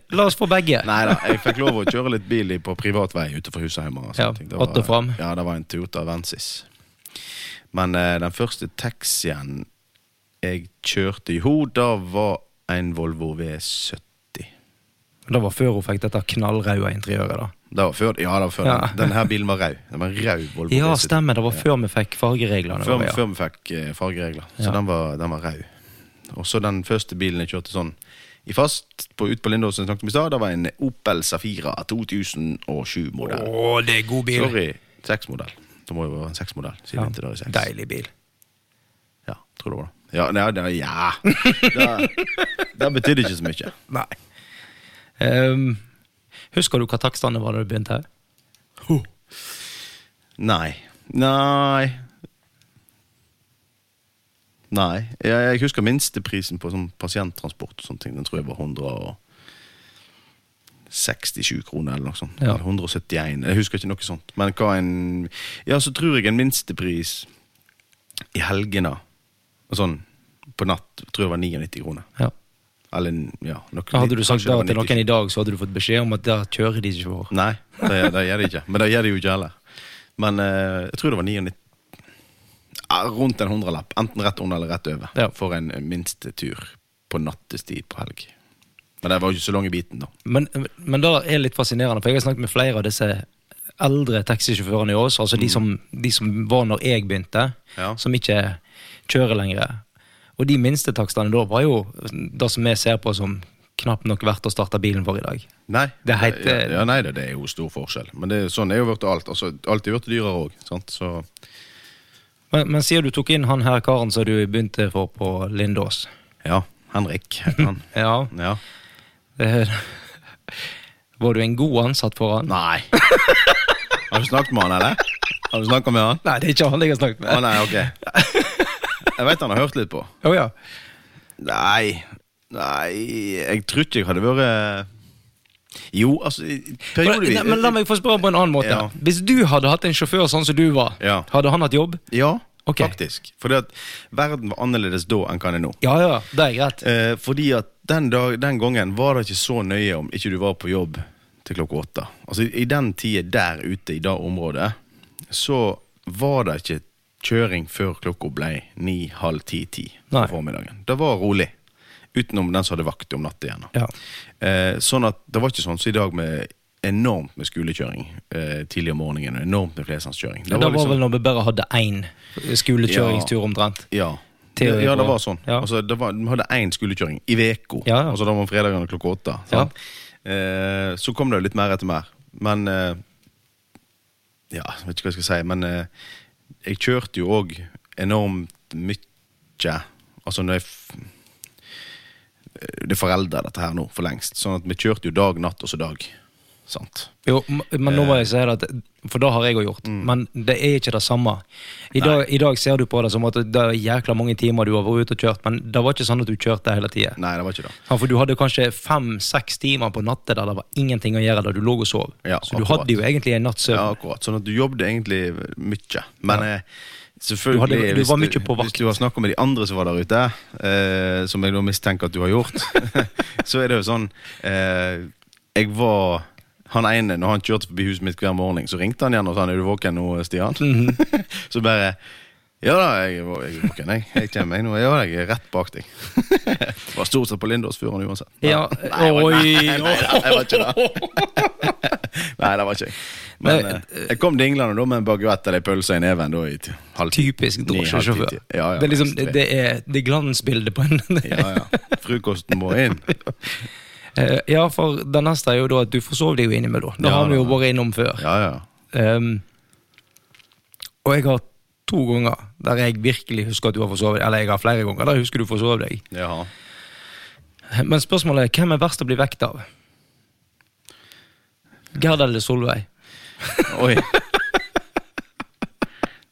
Speaker 1: La oss få begge.
Speaker 3: Nei da, jeg fikk lov å kjøre litt bil i- på privat vei utenfor huset hjemme. og sånne
Speaker 1: Ja,
Speaker 3: ting. Det var-
Speaker 1: att og fram.
Speaker 3: Ja, det var en Toyota Vensis. Men eh, den første taxien jeg kjørte i ho, da var en Volvo V70.
Speaker 1: Det var før hun fikk dette knallrøde interiøret. da.
Speaker 3: Det var før, ja, det var før
Speaker 1: Ja.
Speaker 3: den. Denne her bilen var rød. Den var en rød Volvo
Speaker 1: Ja,
Speaker 3: V70.
Speaker 1: stemmer. Det var før vi fikk fargereglene.
Speaker 3: Før,
Speaker 1: ja.
Speaker 3: før vi fikk eh, fargeregler. Så
Speaker 1: Ja.
Speaker 3: den var, den var rød. Og så den første bilen jeg kjørte sånn i fast på, ut på Lindås, som jeg snakket om i stad, det var en Opel Safira 2007-modell.
Speaker 1: Å, det er god bil!
Speaker 3: Sorry, seksmodell. Det må jo være en seksmodell. Siden
Speaker 1: Ja,
Speaker 3: ikke det er seks.
Speaker 1: Deilig bil.
Speaker 3: Ja, tror det var det. Ja, nei, det, ja. Det, det betydde ikke så mye.
Speaker 1: Nei. Em, husker du hva takstene var da du begynte her?
Speaker 3: Nei. Nei. Nei. Jeg, jeg husker minsteprisen på sånn pasienttransport og sånne ting. Den tror jeg var 167 kroner eller noe sånt.
Speaker 1: Ja.
Speaker 3: Eller 171. Jeg husker ikke noe sånt. Men hva en Ja, så tror jeg en minstepris i helgene og sånn på natt tror jeg var 99 kroner.
Speaker 1: Ja.
Speaker 3: Eller ja, noe,
Speaker 1: Hadde du sagt
Speaker 3: kanskje det
Speaker 1: det
Speaker 3: var
Speaker 1: til noen
Speaker 3: 90.
Speaker 1: i dag, så hadde du fått beskjed om at der kjører de ikke for.
Speaker 3: Nei, det, det gjør det ikke. Men det gjør det jo ikke heller. Men eh, jeg tror det var 99 ja, Rundt en hundrelapp. Enten rett under eller rett over.
Speaker 1: Ja.
Speaker 3: For en minste tur på nattestid på helg. Men det var jo ikke så lang i biten, da.
Speaker 1: Men, men det er litt fascinerende, for jeg har snakket med flere av disse eldre taxisjåførene i Ås, altså de, som, de som var når jeg begynte,
Speaker 3: Ja.
Speaker 1: som ikke kjører lenger. Og de minste takstene da var jo det som vi ser på som knapt nok verdt å starte bilen for i dag.
Speaker 3: Nei,
Speaker 1: Det eh, heter-
Speaker 3: ja, ja, nei det, det er jo stor forskjell. Men det, er- sånn er jo blitt alt. Altså, alt er blitt dyrere òg. Så
Speaker 1: Men, men siden du tok inn han her karen som du begynte for på Lindås
Speaker 3: ja, Henrik heter han.
Speaker 1: Ja,
Speaker 3: Ja.
Speaker 1: det, var du en god ansatt for han?
Speaker 3: Nei. Har du snakket med han, eller? Har du snakket med han?
Speaker 1: Nei, det er ikke han jeg har snakket
Speaker 3: Å
Speaker 1: med.
Speaker 3: nei, ok. Jeg veit han har hørt litt på.
Speaker 1: Å ja.
Speaker 3: Nei, nei Jeg tror ikke jeg hadde vært Jo, altså i- i
Speaker 1: Men,
Speaker 3: Periodevis
Speaker 1: nei, men la meg få spørre på en annen måte.
Speaker 3: Ja.
Speaker 1: Hvis du hadde hatt en sjåfør sånn som du var,
Speaker 3: Ja.
Speaker 1: hadde han hatt jobb?
Speaker 3: Ja,
Speaker 1: Ok.
Speaker 3: faktisk. Fordi at verden var annerledes da enn hva den er nå.
Speaker 1: Ja, ja, det er greit.
Speaker 3: Eh, fordi at den, dag, den gangen var det ikke så nøye om ikke du var på jobb til klokka åtte. Altså i, i den tida der ute i det området, så var det ikke kjøring før klokka ble ni, halv ti-ti på
Speaker 1: Nei.
Speaker 3: formiddagen. Det var rolig. Utenom den som hadde vakt om natta igjen. da.
Speaker 1: Ja.
Speaker 3: Eh, sånn at det var ikke sånn som i dag med enormt med skolekjøring eh, tidlig om morgenen. og Enormt med flersangskjøring.
Speaker 1: Det var, vel når vi bare hadde én skolekjøringstur omtrent.
Speaker 3: liksom- Ja.
Speaker 1: Til og med
Speaker 3: ja, det
Speaker 1: på-
Speaker 3: var sånn.
Speaker 1: Ja.
Speaker 3: Altså, det var, de hadde én skolekjøring i veka
Speaker 1: Ja, ja.
Speaker 3: Altså, da var fredagene klokka åtte. sant? Eh, så kom det jo litt mer etter mer. Men eh, Ja, jeg vet ikke hva jeg skal si. Men eh, jeg kjørte jo òg enormt mye. Altså når jeg f eh, Det er foreldre, dette her nå, for lengst. Sånn at vi kjørte jo dag, natt og så dag. Sant?
Speaker 1: Jo, m- men nå må jeg si det, at- for det har jeg òg gjort,
Speaker 3: Mm.
Speaker 1: men det er ikke det samme. I dag, I dag ser du på det som at det er jækla mange timer du har vært ute og kjørt, men det var ikke sånn at du kjørte hele tida.
Speaker 3: Nei, det var ikke det.
Speaker 1: For du hadde kanskje fem-seks timer på natta der det var ingenting å gjøre, der du lå og sov.
Speaker 3: Ja,
Speaker 1: Så du
Speaker 3: akkurat.
Speaker 1: hadde jo egentlig en natts
Speaker 3: Ja,
Speaker 1: søvn.
Speaker 3: akkurat. Sånn at du jobbet egentlig mye. Men eh,
Speaker 1: Du
Speaker 3: selvfølgelig
Speaker 1: hadde- du
Speaker 3: hvis
Speaker 1: var mye på vakt.
Speaker 3: Hvis du har snakket med de andre som var der ute, eh, som jeg da mistenker at du har gjort, så er det jo sånn eh, Jeg var Han ene, når han kjørte forbi huset mitt hver morgen, så ringte han igjen og sa Er du våken nå, Stian?
Speaker 1: Mhm.
Speaker 3: så bare Ja da, jeg er vå- jeg er våken, jeg. Jeg kommer, jeg nå. Ja, jeg er rett bak deg. var stort sett på Lindås før han uansett.
Speaker 1: Ja,
Speaker 3: Nei,
Speaker 1: oi,
Speaker 3: nei, nei, nei, det var ikke Nei, det var ikke jeg. Men
Speaker 1: Nei,
Speaker 3: eh, jeg kom dinglende da med en baguett eller en pølse i neven da i t- halv ti.
Speaker 1: Typisk
Speaker 3: Ni, halv ti,
Speaker 1: drosjesjåfør.
Speaker 3: ti. Ja, ja,
Speaker 1: det er liksom,
Speaker 3: minst
Speaker 1: det,
Speaker 3: tre.
Speaker 1: det er det er glansbildet på en
Speaker 3: Ja, ja. Frokosten må inn.
Speaker 1: Eh, Ja, for den neste er jo da at du forsov deg jo innimellom. Det
Speaker 3: Ja,
Speaker 1: har vi jo
Speaker 3: da.
Speaker 1: vært innom før.
Speaker 3: Ja, ja.
Speaker 1: Ehm, og jeg har to ganger der jeg virkelig husker at du har forsovet deg. Eller jeg har flere ganger der jeg husker du forsov deg.
Speaker 3: Jaha.
Speaker 1: Men spørsmålet er hvem er verst å bli vekt av? Gerd eller Solveig?
Speaker 3: Oi.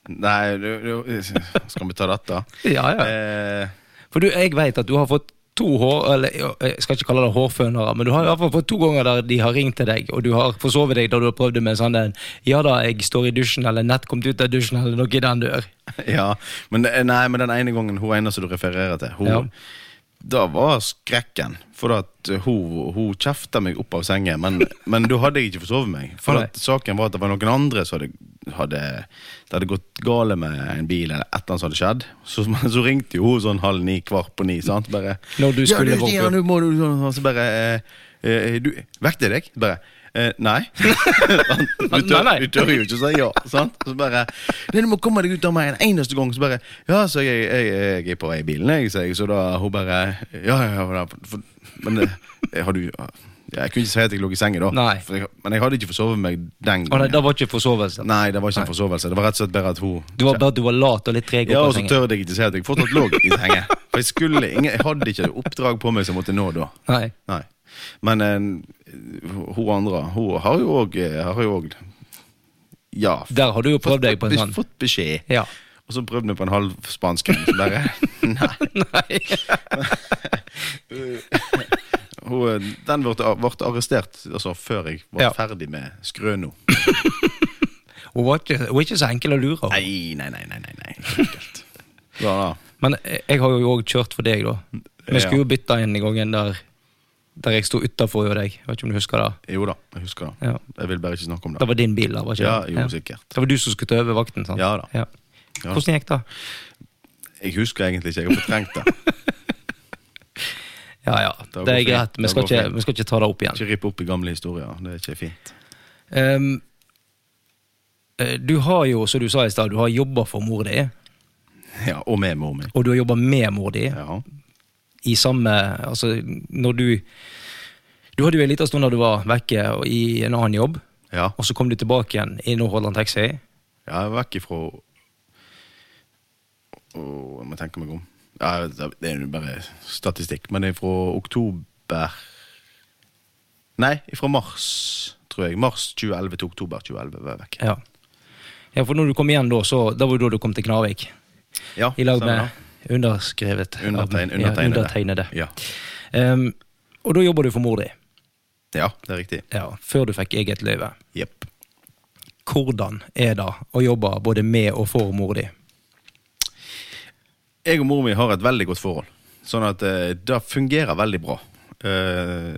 Speaker 3: Nei, du, du, skal vi ta dette?
Speaker 1: Ja, ja.
Speaker 3: Eh,
Speaker 1: For du, jeg vet at du har fått to hår... Eller ja, jeg skal ikke kalle det hårfønere, men du har i hvert fall fått to ganger der de har ringt til deg, og du har forsovet deg da du har prøvd det med sånn en 'ja da, jeg står i dusjen', eller 'nett kommet ut av dusjen', eller noe i den dør.
Speaker 3: ja, men, det- nei, men den ene gangen hun ene som du refererer til, hun,
Speaker 1: Ja.
Speaker 3: da var skrekken. For at hun, hun kjefta meg opp av sengen, men, men da hadde jeg ikke forsovet meg. For
Speaker 1: Nei.
Speaker 3: at saken var at det var noen andre som hadde, hadde Det hadde gått gale med en bil, eller et eller annet som hadde skjedd. Så, men så ringte jo hun sånn halv ni, kvart på ni. sant? Bare,
Speaker 1: Når du skulle
Speaker 3: ja, du,
Speaker 1: våkne
Speaker 3: ja,
Speaker 1: opp.
Speaker 3: nå må du sånn, sånn, Så bare eh, eh, du, Vekte jeg deg? Bare eh, nei. du,
Speaker 1: Nei,
Speaker 3: tør,
Speaker 1: nei.
Speaker 3: du tør jo ikke å si ja. sant? Så bare Nei, du må komme deg ut av meg en eneste gang. Så bare Ja, så jeg, jeg, jeg er på vei i bilen, jeg, sier jeg. Så da hun bare Ja, ja, ja. for- For, men eh, har du ja, Jeg kunne ikke si at jeg lå i sengen da.
Speaker 1: Nei.
Speaker 3: For jeg, men jeg hadde ikke forsovet meg
Speaker 1: Å
Speaker 3: den
Speaker 1: nei,
Speaker 3: gangen.
Speaker 1: det var ikke forsovelse.
Speaker 3: Nei, det var ikke en forsovelse. Det var rett og slett bare at hun
Speaker 1: Det var bare at du var lat og litt treg.
Speaker 3: ja,
Speaker 1: opp av
Speaker 3: og så
Speaker 1: sengen.
Speaker 3: tør jeg ikke si at jeg fortsatt lå i sengen. For jeg skulle ingen, jeg hadde ikke et oppdrag på meg som jeg måtte nå da.
Speaker 1: Nei.
Speaker 3: Nei. Men eh, hun andre, hun har jo òg Har jo òg Ja.
Speaker 1: Der har du jo prøvd deg på en
Speaker 3: fått-
Speaker 1: sånn.
Speaker 3: Fått beskjed.
Speaker 1: Ja.
Speaker 3: Og så prøvde vi på en halv spansk en, så bare Nei.
Speaker 1: Nei.
Speaker 3: Hun, eh, den ble, ble arrestert altså, før jeg var
Speaker 1: Ja.
Speaker 3: ferdig med skrøna.
Speaker 1: Hun var ikke, hun er ikke så enkel å lure. hun.
Speaker 3: Nei, nei, nei, nei. nei, nei. Enkelt. Ja, da.
Speaker 1: Men jeg jeg har jo òg kjørt for deg, da. Vi
Speaker 3: Ja.
Speaker 1: skulle jo bytte en gangen der, der jeg sto utafor deg. Jeg vet ikke om du husker det.
Speaker 3: Jo da, jeg husker det.
Speaker 1: Ja.
Speaker 3: Jeg vil bare ikke snakke om
Speaker 1: Det
Speaker 3: det.
Speaker 1: var din bil, da, var ikke
Speaker 3: Ja,
Speaker 1: det?
Speaker 3: jo, sikkert.
Speaker 1: Det var du som skulle ta over vakten, sant?
Speaker 3: Ja da. Ja.
Speaker 1: Hvordan gikk det?
Speaker 3: Jeg husker egentlig ikke, jeg har fortrengt det.
Speaker 1: Ja ja,
Speaker 3: Det
Speaker 1: det er
Speaker 3: går fint.
Speaker 1: greit. Vi
Speaker 3: Det
Speaker 1: skal,
Speaker 3: går
Speaker 1: ikke,
Speaker 3: fint.
Speaker 1: vi skal ikke ta det opp igjen.
Speaker 3: Ikke ripp opp i gamle historier. Det er ikke fint.
Speaker 1: Ehm, eh, du har jo, som du sa i stad, du har jobba for mor di,
Speaker 3: Ja, Og med mor mi.
Speaker 1: og du har jobba med mor di.
Speaker 3: Ja.
Speaker 1: i samme Altså, når du Du hadde jo en liten stund da du var vekke og i en annen jobb,
Speaker 3: Ja.
Speaker 1: og så kom du tilbake igjen i Nordhordland Taxi.
Speaker 3: Jeg er vekk ifra Åh, Jeg må tenke meg om. Ja, det er jo bare statistikk, men det er fra oktober Nei, fra mars, tror jeg. Mars 2011 til oktober 2011 var jeg vekk.
Speaker 1: Ja. ja, for når du kom igjen da, så Da var det da du kom til Knarvik.
Speaker 3: Ja,
Speaker 1: I lag
Speaker 3: stemmer
Speaker 1: med underskrevet av-
Speaker 3: Undertegn-
Speaker 1: ja,
Speaker 3: undertegnede.
Speaker 1: undertegnede.
Speaker 3: det. Ja.
Speaker 1: Ehm, og da jobber du for mor di,
Speaker 3: ja, det er riktig.
Speaker 1: ja, før du fikk eget løyve.
Speaker 3: Jepp.
Speaker 1: Hvordan er det å jobbe både med og for mor di?
Speaker 3: jeg og mor mi har et veldig godt forhold. Sånn at eh, det fungerer veldig bra. Eh,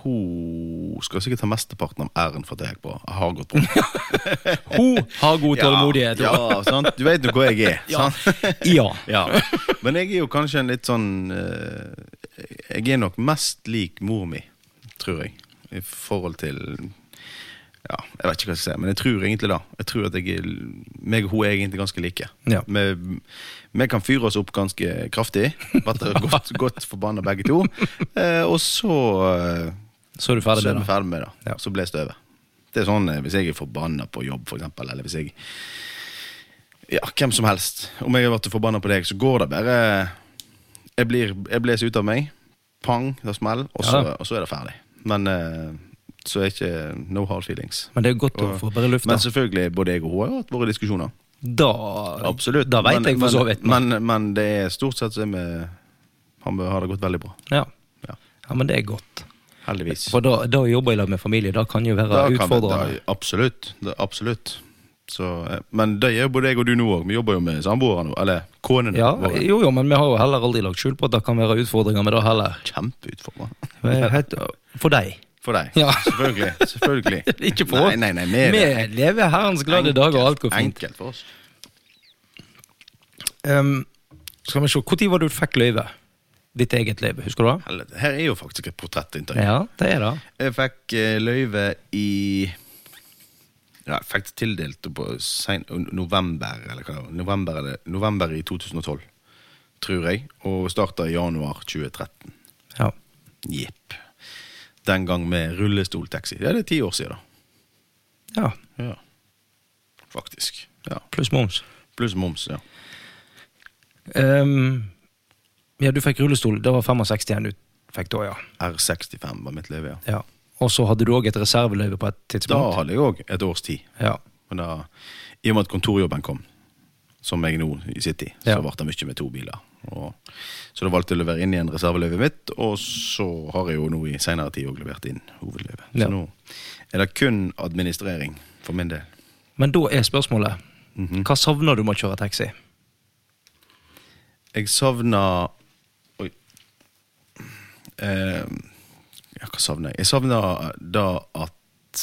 Speaker 3: hun skal sikkert ha mesteparten av æren for at det gikk bra. Jeg har gått bra.
Speaker 1: Hun har god tålmodighet.
Speaker 3: Ja, ja, sant? Du vet jo hvor jeg er.
Speaker 1: Ja.
Speaker 3: Sant?
Speaker 1: ja.
Speaker 3: ja. Men jeg er jo kanskje en litt sånn eh, Jeg er nok mest lik mor mi, tror jeg. I forhold til Ja, jeg vet ikke hva jeg skal si, men jeg tror egentlig det. Jeg tror at jeg er, meg og hun er egentlig ganske like.
Speaker 1: Ja.
Speaker 3: Vi, vi kan fyre oss opp ganske kraftig. Vært godt, godt forbanna begge to. Eh, og så, eh,
Speaker 1: Så er du
Speaker 3: så
Speaker 1: ferdig
Speaker 3: er
Speaker 1: med
Speaker 3: vi
Speaker 1: det.
Speaker 3: ferdig med det.
Speaker 1: Ja.
Speaker 3: Så ble støvet. Det er sånn eh, hvis jeg er forbanna på jobb, for eksempel, eller hvis jeg ja, hvem som helst. Om jeg har vært forbanna på deg, så går det bare Jeg blir jeg blåser ut av meg. Pang, det smeller, og, så-
Speaker 1: Ja.
Speaker 3: og så er det ferdig. Men eh, så er ikke no hard feelings.
Speaker 1: Men det er godt å
Speaker 3: Og-
Speaker 1: få bare lufta.
Speaker 3: Men selvfølgelig, både jeg og hun har hatt våre diskusjoner.
Speaker 1: Da,
Speaker 3: Absolutt.
Speaker 1: da veit
Speaker 3: Men-
Speaker 1: jeg for så vidt.
Speaker 3: Men, men, men det er stort sett så er vi han har det gått veldig bra.
Speaker 1: Ja.
Speaker 3: Ja,
Speaker 1: ja, men det er godt.
Speaker 3: Heldigvis.
Speaker 1: For da, da å jobbe i lag med familie, da kan jo være
Speaker 3: Da kan vi-
Speaker 1: utfordrende.
Speaker 3: da- absolutt. Da, absolutt. Så, eh, men det gjør både jeg og du nå òg. Vi jobber jo med samboere nå. Eller konene
Speaker 1: Ja,
Speaker 3: våre.
Speaker 1: jo, jo, men vi har jo heller aldri lagt skjul på at det kan være utfordringer med det heller.
Speaker 3: Kjempeutfordrende.
Speaker 1: Men helt- For deg.
Speaker 3: for deg.
Speaker 1: Ja.
Speaker 3: Selvfølgelig. selvfølgelig.
Speaker 1: Ikke på.
Speaker 3: Nei, nei, nei, vi er
Speaker 1: Vi
Speaker 3: det.
Speaker 1: lever herrens glade dager, og alt går fint.
Speaker 3: Enkelt for oss.
Speaker 1: Um, skal vi se, Når var det du fikk løyve? Ditt eget løyve, husker du det?
Speaker 3: Helvete. Her er jo faktisk et portrettintervju.
Speaker 1: Ja, det er det.
Speaker 3: Jeg fikk eh, løyve i ja, Jeg fikk det tildelt på sen, november eller hva det var. November, eller, november i 2012, tror jeg. Og starta i januar 2013.
Speaker 1: Ja.
Speaker 3: Jepp. Den gang med rullestoltaxi. Ja, det er ti år siden, da.
Speaker 1: ja.
Speaker 3: Ja. Faktisk. Ja.
Speaker 1: Pluss moms.
Speaker 3: Pluss moms, ja.
Speaker 1: Um, ja, du fikk rullestol. Det var 65 igjen du fikk da, ja.
Speaker 3: R65 var mitt løyve, ja.
Speaker 1: ja. Og så hadde du òg et reserveløyve på et
Speaker 3: Da
Speaker 1: tidspunkt.
Speaker 3: hadde jeg òg et års tid.
Speaker 1: Ja.
Speaker 3: Men da, I og med at kontorjobben kom, som jeg nå sitter i, så
Speaker 1: Ja.
Speaker 3: ble det mye med to biler. Og, så da valgte jeg å levere inn igjen reserveløyvet mitt, og så har jeg jo nå i senere tid òg levert inn hovedløyvet.
Speaker 1: Ja.
Speaker 3: Så nå er det kun administrering for min del.
Speaker 1: Men da er spørsmålet
Speaker 3: Mhm.
Speaker 1: Hva savner du med å kjøre taxi?
Speaker 3: Jeg savna Oi. Eh, ja, hva savner jeg? Jeg savna da at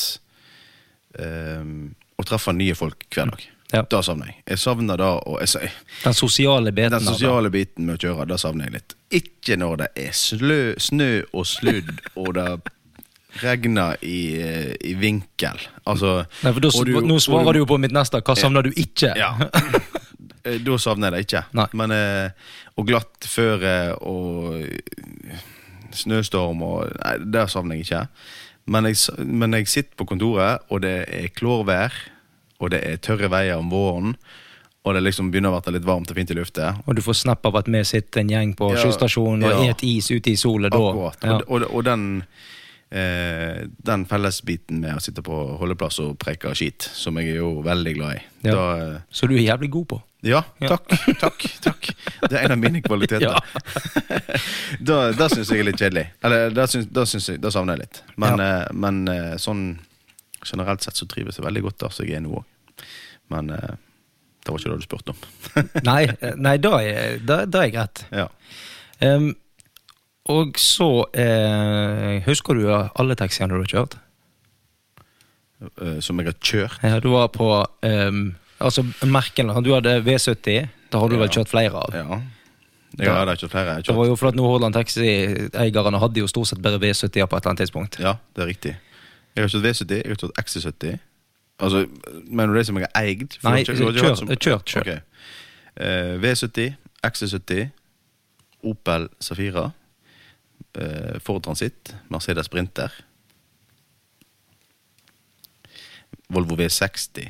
Speaker 3: eh, Å treffe nye folk hver dag.
Speaker 1: Mm, Ja.
Speaker 3: Da savner jeg. Jeg savner da å jeg, sa-
Speaker 1: Den sosiale biten. av
Speaker 3: Den
Speaker 1: det.
Speaker 3: sosiale biten med å kjøre, da savner jeg litt. Ikke når det er slø, snø og sludd, og det regner i, eh, i vinkel. Altså
Speaker 1: Nei, for da,
Speaker 3: og du-
Speaker 1: nå
Speaker 3: og
Speaker 1: svarer du jo på mitt neste. Hva savner du ikke?
Speaker 3: Ja. Eh, Da savner jeg det ikke.
Speaker 1: Nei.
Speaker 3: Men, eh, og glatt føre og eh, snøstorm og Nei, det savner jeg ikke. Men jeg, s- men jeg sitter på kontoret, og det er klårvær, og det er tørre veier om våren, og det liksom begynner å bli litt varmt og fint i lufta,
Speaker 1: Og du får snap av at vi sitter en gjeng på
Speaker 3: Ja,
Speaker 1: kyststasjonen og
Speaker 3: ja.
Speaker 1: et is ute i sola da.
Speaker 3: Akkurat.
Speaker 1: Ja.
Speaker 3: Og, og, og den, eh, den fellesbiten med å sitte på holdeplass og preike skit, som jeg er jo veldig glad i.
Speaker 1: Ja.
Speaker 3: Da, eh,
Speaker 1: Så du er jævlig god på.
Speaker 3: ja,
Speaker 1: Ja.
Speaker 3: takk, takk, takk. Det er en av mine kvaliteter.
Speaker 1: Ja.
Speaker 3: da da syns jeg er litt kjedelig. Eller da syns, da syns jeg, da savner jeg litt. Men, eh, men eh, sånn generelt sett så trives jeg veldig godt der som jeg er nå òg. Men eh, det var ikke det du spurte om.
Speaker 1: Nei, eh, nei da er, da, da er jeg rett.
Speaker 3: ja.
Speaker 1: Ehm, og så eh, Husker du alle taxiene du har kjørt?
Speaker 3: Eh, Som jeg har kjørt.
Speaker 1: Ja, du var på ehm, Altså merkene. Du hadde V70. Da har du vel
Speaker 3: Ja.
Speaker 1: kjørt flere av?
Speaker 3: Ja. Jeg har da ikke flere. Jeg
Speaker 1: Det
Speaker 3: har
Speaker 1: var
Speaker 3: kjørt.
Speaker 1: jo fordi at Nordhordland Taxi-eierne hadde jo stort sett bare V70-er på et eller annet tidspunkt.
Speaker 3: Ja, det er riktig. Jeg har kjørt V70, jeg har kjørt XC70. Altså, mener du det som jeg har eid? For
Speaker 1: Nei,
Speaker 3: du har ikke- du har ikke
Speaker 1: kjørt-
Speaker 3: hatt som-
Speaker 1: kjørt selv.
Speaker 3: Ok. Eh, V70, XC70, Opel Safira, eh, Ford Transit, Mercedes Sprinter, Volvo V60.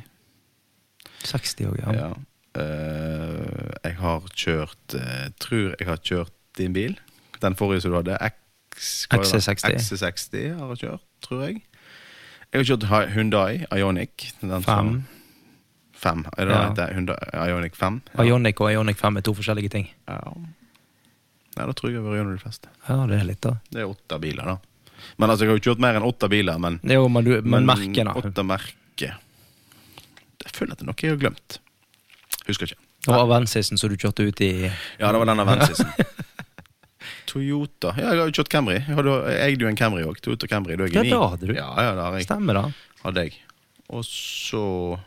Speaker 1: 60 òg, ja.
Speaker 3: Ja. Eh, jeg har kjørt eh, Tror jeg har kjørt din bil. Den forrige som du hadde. X, hva var det?
Speaker 1: XC60.
Speaker 3: XC60 har jeg kjørt, tror jeg. Jeg har kjørt Hy- Hyundai Ionic. Den
Speaker 1: Fem.
Speaker 3: som- Fem. Er det
Speaker 1: Ja.
Speaker 3: det heter? Hyundai Ionic 5?
Speaker 1: Ionic og Ionic 5 er to forskjellige ting.
Speaker 3: Ja. Nei, da tror jeg jeg var gjennom de fleste.
Speaker 1: Ja, det er litt, da.
Speaker 3: Det er åtte biler, da. Men altså, jeg har jo kjørt mer enn åtte biler, men,
Speaker 1: Det er jo, men, du, men merkene.
Speaker 3: Åtte merker. Jeg føler at det er noe jeg har glemt. Husker ikke.
Speaker 1: Og Avensisen som du kjørte ut i
Speaker 3: Ja, det var den avensisen. Toyota. Ja, jeg har jo kjørt Camry. Jeg hadde jeg eide jo en Camry òg. Toyota Camry. Da er
Speaker 1: Ja,
Speaker 3: jeg ni.
Speaker 1: det hadde du.
Speaker 3: Ja, ja, det har jeg.
Speaker 1: Stemmer, da.
Speaker 3: Hadde jeg. Og så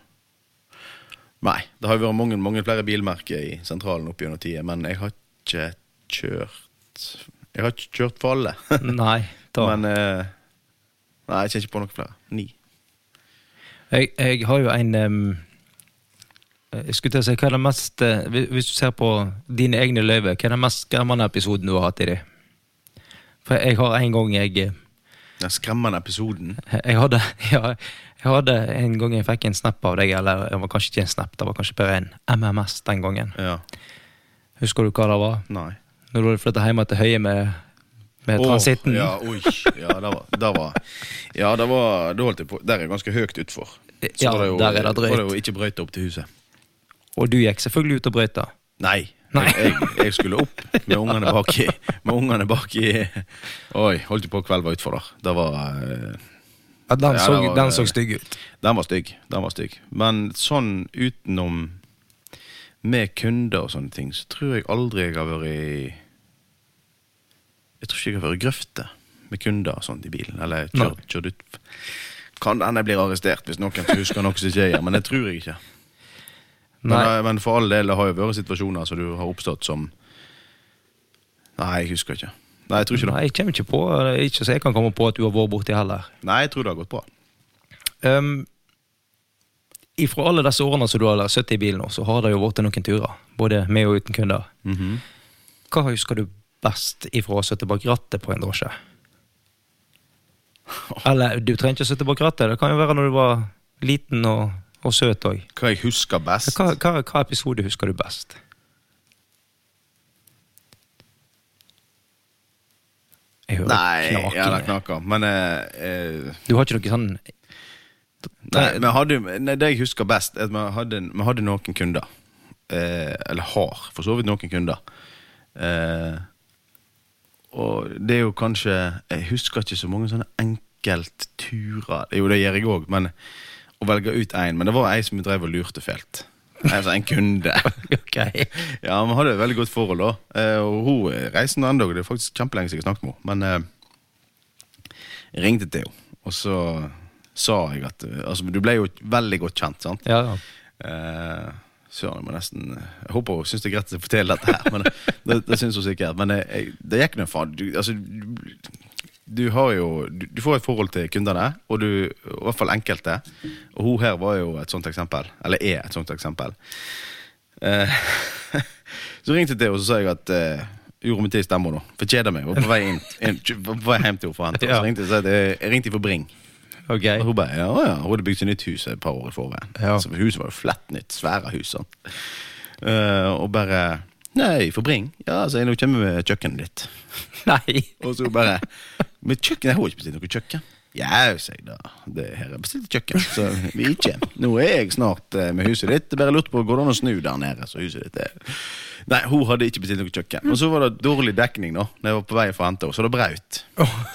Speaker 3: Nei, det har jo vært mange, mange flere bilmerker i sentralen opp gjennom tida, men jeg har ikke kjørt Jeg har ikke kjørt for alle.
Speaker 1: Nei. Da.
Speaker 3: men eh, Nei, jeg kjenner ikke på noen flere. Ni.
Speaker 1: jeg, jeg har jo en em, eh, jeg skulle til å si, hva er det mest eh, hvis- Hvis du ser på dine egne løyver, hva er den mest skremmende episoden du har hatt i de? For jeg har en gang jeg eh,
Speaker 3: Den skremmende episoden.
Speaker 1: Jeg hadde, ja, jeg hadde en gang jeg fikk en snap av deg, eller det var kanskje ikke en snap, det var kanskje bare en MMS den gangen.
Speaker 3: Ja.
Speaker 1: Husker du hva det var?
Speaker 3: Nei.
Speaker 1: Når du hadde flytta hjem til Høie med, med
Speaker 3: Åh,
Speaker 1: Eh, transitten?
Speaker 3: Ja, oi, ja, det var, det var, ja, det var da holdt jeg på. Der er ganske høyt utfor. Så
Speaker 1: Ja,
Speaker 3: var
Speaker 1: der er det drøyt.
Speaker 3: Var det jo ikke brøyta opp til huset.
Speaker 1: Og du gikk selvfølgelig ut og brøyta.
Speaker 3: Nei.
Speaker 1: Nei.
Speaker 3: Jeg, jeg, jeg skulle opp med ungene bak i Med ungene bak i Oi, holdt jeg på å kvelve utfor der. Det var eh,
Speaker 1: Ja, den,
Speaker 3: Ja,
Speaker 1: så,
Speaker 3: det var-
Speaker 1: den så stygg ut.
Speaker 3: Den var stygg. Den var stygg. Men sånn utenom med kunder og sånne ting, så tror jeg aldri jeg har vært i Jeg tror ikke jeg har vært i grøfte med kunder og sånt i bilen. Eller
Speaker 1: Nei.
Speaker 3: kjørt, kjørt ut. Kan hende jeg blir arrestert hvis noen husker noe som ikke jeg gjør, men det tror jeg ikke. Men,
Speaker 1: Nei.
Speaker 3: eh, men for all del det har jo vært situasjoner som du har oppstått som Nei, jeg husker ikke. Nei, jeg tror ikke det.
Speaker 1: Nei, jeg kommer ikke på eh, Ikke så jeg kan komme på at du har vært borti heller.
Speaker 3: Nei, jeg tror det har gått bra.
Speaker 1: Um, ifra alle disse årene som du har sittet i bilen, nå, så har det jo vært noen turer. Både med og uten kunder. Hva husker du best ifra å sitte bak rattet på en drosje? Eller du trenger ikke å sitte bak rattet. Det kan jo være når du var liten og, og søt òg.
Speaker 3: Hva jeg husker best?
Speaker 1: Hva, hva, hva episode husker du best? Jeg hører
Speaker 3: Nei,
Speaker 1: knaking.
Speaker 3: ja, det knaker. Men eh, eh,
Speaker 1: Du har ikke noe sånn
Speaker 3: Nei, vi hadde, jo- nei, det jeg husker best, er at vi hadde, vi hadde noen kunder. Eh, eller har, for så vidt noen kunder. Eh, og det er jo kanskje Jeg husker ikke så mange sånne enkeltturer. Jo, det gjør jeg òg, men å velge ut én. Men det var ei som drev og lurte fælt. Altså en kunde.
Speaker 1: Ok.
Speaker 3: Ja, vi hadde et veldig godt forhold da. Eh, og hun eh, reiste en annen dag, det er faktisk kjempelenge siden jeg har snakket med henne. Men eh, jeg ringte til henne, og så sa jeg at eh, Altså, du ble jo veldig godt kjent, sant?
Speaker 1: Ja, ja.
Speaker 3: Eh, Søren, jeg må nesten Jeg håper hun syns det er greit å fortelle dette her, men det, det syns hun sikkert. Men eh, jeg, det gikk nå faen. Du, altså, du, du har jo du, du får et forhold til kundene, og du, i hvert fall enkelte. Og hun her var jo et sånt eksempel. Eller er et sånt eksempel. Eh, så ringte jeg til henne og så sa jeg at eh, Gjorde meg til stemmer nå. For jeg kjeder meg. Var på vei inn, inn var på vei hjem til henne for å hente henne.
Speaker 1: Ja.
Speaker 3: Så ringte jeg og sa at jeg- jeg ringte for Bring.
Speaker 1: Ok.
Speaker 3: Og hun bare, ja, ja. Hun hadde bygd seg nytt hus et par år i forveien.
Speaker 1: Ja.
Speaker 3: Så huset var jo flett nytt. Svære hus. Sånn. Eh, og bare Nei, for Bring. Ja, så jeg nå kommer vi med kjøkkenet ditt.
Speaker 1: Nei.
Speaker 3: Og så bare Men kjøkken, jeg har ikke bestilt noe kjøkken. Ja, sa jeg da. Det her er bestilt kjøkken, så vi ikke. Nå er jeg snart eh, med huset ditt. Bare lurte på, går det an å snu der nede, så huset ditt er Nei, hun hadde ikke bestilt noe kjøkken. Og så var det dårlig dekning, da. Når jeg var på vei for å hente henne, så det braut.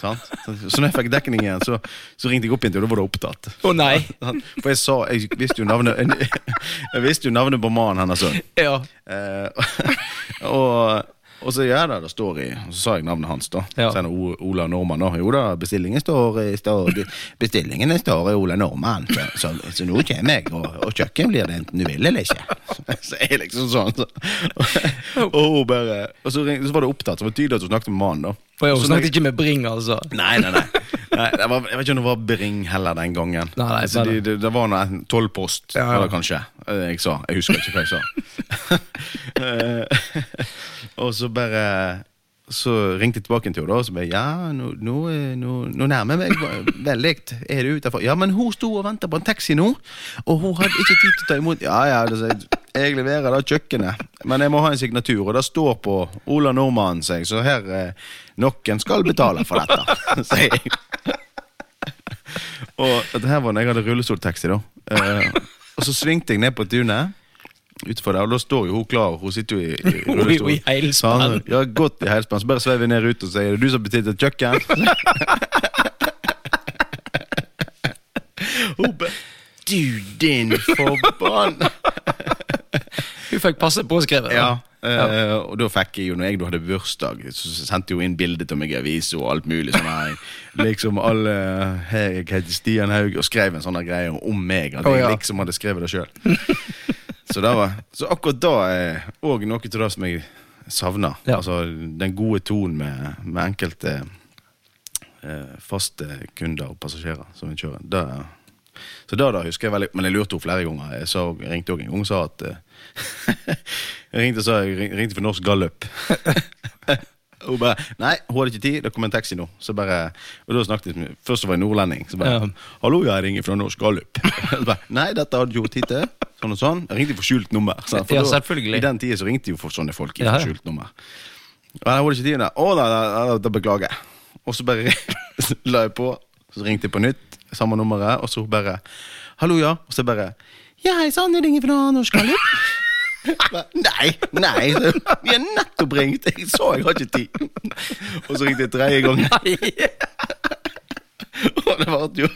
Speaker 3: Sant? Så når jeg fikk dekning igjen, så, så ringte jeg opp igjen til henne, og da var det opptatt.
Speaker 1: Å nei.
Speaker 3: Sant? For jeg sa Jeg visste jo navnet Jeg visste jo navnet på mannen hennes òg.
Speaker 1: Ja.
Speaker 3: Eh, og, og så ja da, det står i Og så sa jeg navnet hans, da.
Speaker 1: Ja.
Speaker 3: Så er det O- Ola Normann. da. Jo da, bestillingen står i står, Bestillingene står i Ola Normann, så, så, så nå kommer jeg, og, og kjøkken blir det enten du vil eller ikke. Så jeg er liksom sånn. Så. Og, hun bare, og så, ring, så var det opptatt, så det var tydelig at hun snakket med mannen, da.
Speaker 1: For jeg
Speaker 3: Så når
Speaker 1: snakket
Speaker 3: jeg-
Speaker 1: ikke med Bring, altså.
Speaker 3: Nei, nei, nei. nei det var, jeg vet ikke om det var Bring heller den gangen.
Speaker 1: Nei, nei,
Speaker 3: altså,
Speaker 1: nei, nei.
Speaker 3: det, det, det var noe enten tolvpost,
Speaker 1: Ja, ja.
Speaker 3: eller kanskje. eh, Jeg sa. Jeg husker ikke hva jeg sa. Eh, og så bare så ringte jeg tilbake til henne, da, og så bare Ja, nå, nå, eh, nå, nå nærmer jeg meg veldig. Er du utenfor? Ja, men hun sto og venta på en taxi nå, og hun hadde ikke tid til å ta imot. Ja, ja, det sier jeg. Jeg leverer da kjøkkenet, men jeg må ha en signatur, og det står på Ola Nordmann seg, så her eh, Noen skal betale for dette, sier jeg. Og dette her var når jeg hadde rullestoltaxi, da. Eh, og så svingte jeg ned på tunet. Utenfor der, og da står jo hun klar. Hun sitter jo i, i
Speaker 1: Hun er jo
Speaker 3: rullestol.
Speaker 1: i heilspann.
Speaker 3: Så han- Ja, godt i heilspann. Så bare sveiver vi ned ut og sier 'Er det du som har bestilt et kjøkken?' hun bare 'Du, din forbanna
Speaker 1: Du fikk passe påskrevet.
Speaker 3: ja.
Speaker 1: da.
Speaker 3: eh, og da fikk jeg jo, når jeg da hadde bursdag, så sendte jo inn bilde til meg i avisa og alt mulig sånn her. Liksom alle hei, Jeg heter Stian Haug, og skrev en sånn der greie om meg. At
Speaker 1: Å,
Speaker 3: jeg
Speaker 1: ja.
Speaker 3: liksom hadde skrevet det sjøl. Så, det var- så akkurat da òg noe til det som jeg savna.
Speaker 1: Ja.
Speaker 3: Altså den gode tonen med, med enkelte eh, faste kunder og passasjerer som vi kjører. Det, så da, da husker jeg veldig Men jeg lurte henne flere ganger. Jeg, sa, jeg ringte også en gang og sa at eh, Jeg ringte og sa jeg ring- ringte for Norsk Gallup. Hun bare Nei, hun hadde ikke tid. Det kom en taxi nå. Så bare, og da snakket jeg med Først så var jeg nordlending. Så bare
Speaker 1: Ja.
Speaker 3: Hallo, jeg ringer fra Norsk Gallup. Så bare, Nei, dette hadde ikke hun tid til. Sånn og sånn. Jeg ringte for skjult nummer. sant?
Speaker 1: Ja,
Speaker 3: da-
Speaker 1: selvfølgelig.
Speaker 3: I den tida så ringte jo for sånne folk i
Speaker 1: Ja, ja.
Speaker 3: skjult nummer. Ja, jeg hadde ikke tid til det. Å, nei, nei, nei, da beklager jeg. Og så bare så la jeg på, så ringte jeg på nytt, samme nummeret, og så bare Hallo, ja. Og så bare Ja, hei sann, jeg ringer fra Norsk Gallup. Bare, Nei, nei, vi har nettopp ringt. Jeg sa jeg har ikke tid. Og så ringte jeg tredje gang. Og det ble jo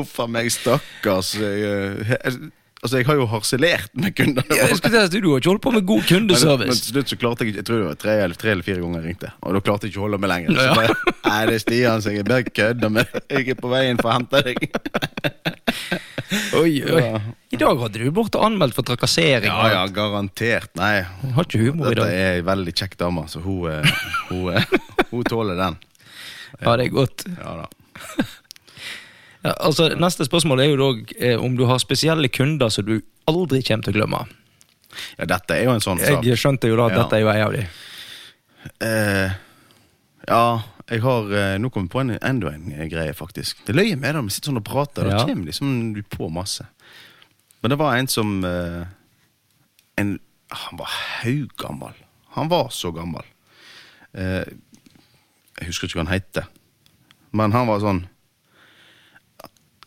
Speaker 3: Uff a meg, stakkars. Jeg, eh, Altså, jeg har jo harselert med kundene.
Speaker 1: Jeg skulle til å si, Du har ikke holdt på med god
Speaker 3: Men, men
Speaker 1: kundeservice.
Speaker 3: til slutt så klarte jeg ikke Jeg tror det var tre eller, tre eller fire ganger jeg ringte. Og da klarte jeg ikke å holde meg lenger.
Speaker 1: Ja.
Speaker 3: Så bare, Nei, det er Stian som jeg bare kødder med. Jeg er på vei inn for å hente deg.
Speaker 1: Oi, oi.
Speaker 3: Ja.
Speaker 1: I dag hadde du borte anmeldt for trakassering.
Speaker 3: Ja ja, garantert. Nei.
Speaker 1: Hun Har ikke humor i
Speaker 3: Dette
Speaker 1: dag.
Speaker 3: er ei veldig kjekk dame, så hun, eh, hun, eh, hun tåler den.
Speaker 1: Ja, det er godt.
Speaker 3: Ja da.
Speaker 1: Ja, altså, neste spørsmål er jo dog eh, om du har spesielle kunder som du aldri kommer til å glemme.
Speaker 3: Ja, dette er jo en sånn sak.
Speaker 1: Jeg skjønte jo da at
Speaker 3: Ja.
Speaker 1: dette er jo en av de.
Speaker 3: Eh, ja, jeg har eh, Nå kom jeg på en, enda en eh, greie, faktisk. Det løyer med det når vi sitter sånn og prater.
Speaker 1: Ja.
Speaker 3: Da kommer liksom du på masse. Men det var en som eh, en, Han var haugammal. Han var så gammel. Eh, jeg husker ikke hva han het. Men han var sånn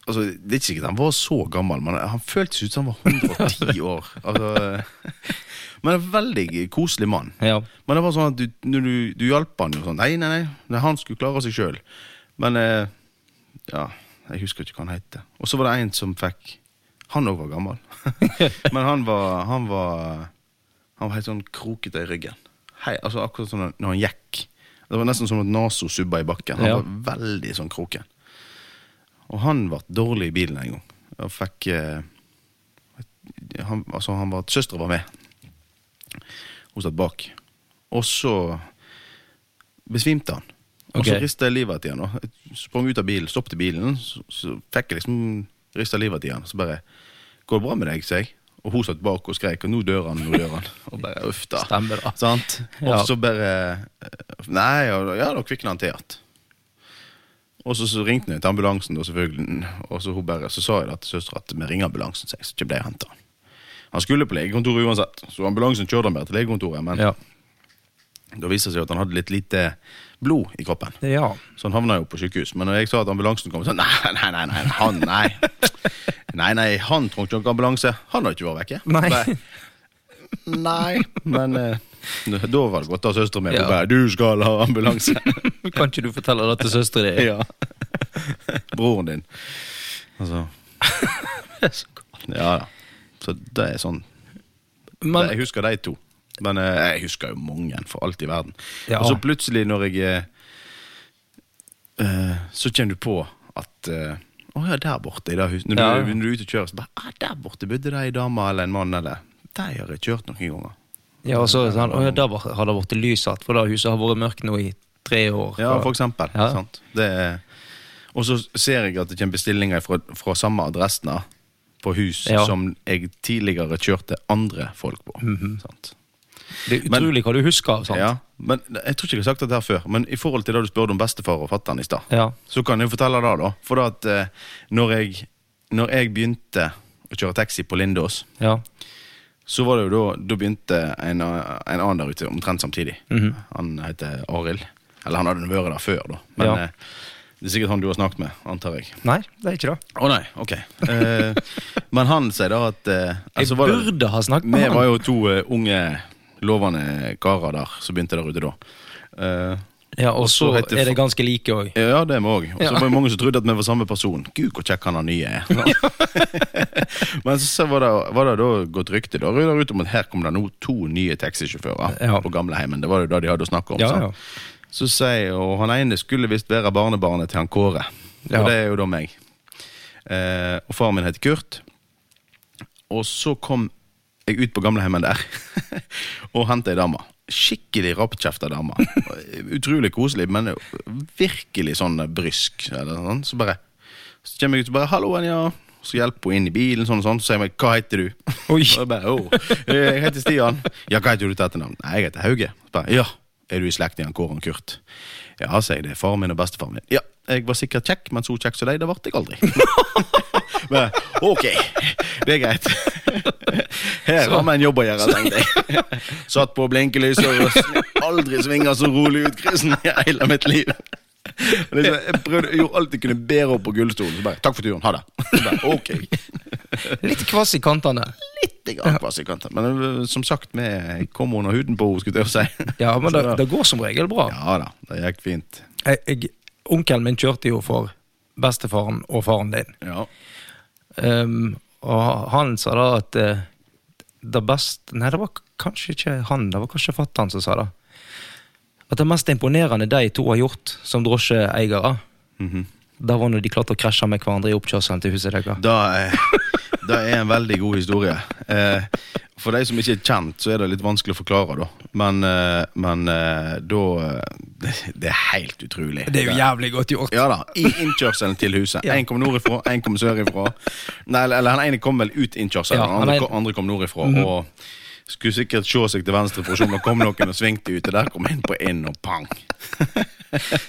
Speaker 3: Altså, Det er ikke sikkert han var så gammel, men han føltes ut som han var 110 år. Altså, men en veldig koselig mann.
Speaker 1: Ja.
Speaker 3: Men det var sånn at du, når du, du hjalp han jo sånn. Nei, nei, nei, nei han skulle klare seg sjøl. Men eh, ja, jeg husker ikke hva han het. Og så var det en som fikk Han òg var gammel. Men han var Han var Han var helt sånn krokete i ryggen. Hei, altså Akkurat som sånn når han gikk. Det var nesten som at Naso subba i bakken. Han
Speaker 1: Ja.
Speaker 3: var veldig sånn kroken. Og han ble dårlig i bilen en gang. Og fikk eh, han, altså han var, Søstera var med. Hun satt bak. Og så besvimte han. Og så
Speaker 1: Ok.
Speaker 3: rista jeg livet i han. da. Jeg sprang ut av bilen, stoppet bilen, så, så fikk jeg liksom rista livet i han. Så bare 'Går det bra med deg?' sa jeg. Og hun satt bak og skreik, og 'nå dør han', nå dør han. Og bare uff, da.
Speaker 1: Stemmer da.
Speaker 3: Sant? Og
Speaker 1: Ja.
Speaker 3: så bare eh, Nei, og, ja, da kvikna han til igjen. Og så, så ringte jeg til ambulansen, da, selvfølgelig. Og så, hun bare, så sa jeg da til søstera at vi ringer ambulansen, så jeg så ikke ble henta. Han skulle på legekontoret uansett, så ambulansen kjørte han bare til legekontoret. Men
Speaker 1: Ja.
Speaker 3: da viste det seg at han hadde litt lite blod i kroppen.
Speaker 1: ja.
Speaker 3: Så han havna jo på sykehus. Men når jeg sa at ambulansen kom, så nei, nei, nei, nei, han, nei. Nei, nei, han trengte ikke noen ambulanse. Han har ikke vært vekke.
Speaker 1: Nei.
Speaker 3: Bare, Nei, men eh, da var det godt av søstera mi.
Speaker 1: Ja.
Speaker 3: Hun bare 'Du skal ha ambulanse'.
Speaker 1: Kan ikke du fortelle det til søsteren din?
Speaker 3: ja. Broren din. Altså Ja da. Så det er sånn
Speaker 1: Men,
Speaker 3: Jeg husker de to. Men eh, jeg husker jo mange, for alt i verden.
Speaker 1: Ja.
Speaker 3: Og så plutselig, når jeg eh, eh, Så kommer du på at eh, Å ja, der borte i det huset. Når, du-
Speaker 1: Ja.
Speaker 3: når du er ute og kjører, så bare ah, Der borte bodde det ei dame eller en mann, eller De har jeg kjørt noen ganger.
Speaker 1: ja, og så sånn, å, ja, der var- har det blitt lysatt, for da huset har vært mørkt nå i tre år.
Speaker 3: Ja, for eksempel.
Speaker 1: Ja.
Speaker 3: Sant? Det er, og så ser jeg at det kommer bestillinger fra, fra samme adressen da, på hus
Speaker 1: Ja.
Speaker 3: som jeg tidligere kjørte andre folk på.
Speaker 1: Mhm.
Speaker 3: sant?
Speaker 1: Det er utrolig hva du husker av sånt.
Speaker 3: Ja, men Jeg tror ikke jeg har sagt dette her før, men i forhold til det du spurte om bestefar og fatter'n i stad,
Speaker 1: Ja.
Speaker 3: så kan jeg fortelle det, da. For da at eh, når jeg, når jeg begynte å kjøre taxi på Lindås,
Speaker 1: Ja.
Speaker 3: så var det jo da Da begynte en, en annen der ute omtrent samtidig.
Speaker 1: Mhm.
Speaker 3: Han heter Arild. Eller han hadde vært der før, da. Men
Speaker 1: Ja.
Speaker 3: eh, det er sikkert han du har snakket med, antar jeg.
Speaker 1: Nei, det er ikke det.
Speaker 3: Å nei, ok. Eh, men han sier da at eh,
Speaker 1: Jeg
Speaker 3: altså var det-
Speaker 1: burde ha snakket med
Speaker 3: vi
Speaker 1: han.
Speaker 3: var jo to eh, unge, lovende karer der som begynte der ute da. Eh,
Speaker 1: Ja, og så
Speaker 3: så heter
Speaker 1: er det ganske like òg.
Speaker 3: ja, det er vi òg. Og så
Speaker 1: Ja.
Speaker 3: var det mange som trodde at vi var samme person. Gud, hvor kjekk han er nye er. Men så var det, var det da godt rykte da, der ute om at her kom det nå to nye taxisjåfører
Speaker 1: Ja.
Speaker 3: på gamleheimen. Det var jo det de hadde å snakke om.
Speaker 1: Ja,
Speaker 3: sant?
Speaker 1: ja.
Speaker 3: Så sier og han ene skulle visst være barnebarnet til han Kåre. Og
Speaker 1: Ja.
Speaker 3: det er jo da meg. Eh, og faren min heter Kurt. Og så kom jeg ut på gamleheimen der og henta ei dame. Skikkelig rappkjefta dame. Utrolig koselig, men virkelig sånn brysk. Eller sånn. Så bare Så kommer jeg ut og bare 'Hallo, Anja'. Så hjelper hun inn i bilen, sånn og sånn. Så sier hun 'Hva heter du?'
Speaker 1: Oi.
Speaker 3: Og jeg bare, «Å, Jeg heter Stian. 'Ja, hva heter du til etternavn?' 'Nei, jeg heter Hauge'. Så Bare, 'Ja, er du i slekt med Kåre og Kurt?' 'Ja', sier jeg. 'Det er faren min og bestefaren min'. 'Ja, jeg var sikkert kjekk, men så kjekk som deg, det ble jeg aldri'. Bare, ok, det er greit. Her har vi en jobb å gjøre, tenkte jeg. Satt på blinkelyset og sn- aldri svinga så rolig ut kryssen i hele mitt liv. Og Liksom, jeg prøvde, jeg gjorde alt jeg kunne bære opp på gullstolen. Så bare 'takk for turen, ha det'. Bare, ok,
Speaker 1: Litt kvass i kantene.
Speaker 3: Litt grann kvass i kanten. Men øh, som sagt, vi kom under huden på henne, skulle jeg til å si.
Speaker 1: Ja, men det,
Speaker 3: Så da-
Speaker 1: det går som regel bra.
Speaker 3: Ja da, det gikk fint.
Speaker 1: Jeg, jeg, onkelen min kjørte jo for bestefaren og faren din.
Speaker 3: Ja.
Speaker 1: Ehm, Og han sa da at eh, det beste Nei, det var k- kanskje ikke han, det var kanskje fatteren som sa det. At det mest imponerende de to har gjort som drosjeeiere,
Speaker 3: Mhm.
Speaker 1: det var når de klarte å krasje med hverandre i oppkjørselen til huset deres.
Speaker 3: Da, eh, da er en veldig god historie. Eh, for de som ikke er kjent, så er det litt vanskelig å forklare, da. Men, eh, men eh, da eh, det, det er helt utrolig.
Speaker 1: jævlig godt gjort.
Speaker 3: Ja da, i innkjørselen til huset.
Speaker 1: Ja.
Speaker 3: Én kom nordifra, én kom sørifra. Nei, eller, eller han ene kom vel ut innkjørselen,
Speaker 1: Ja, han
Speaker 3: den
Speaker 1: Mhm.
Speaker 3: andre,
Speaker 1: ene-
Speaker 3: kom- andre kom nordifra. Og skulle sikkert se seg til venstre for å se om det kom noen og svingte ut. Og der kom en på inn, og pang.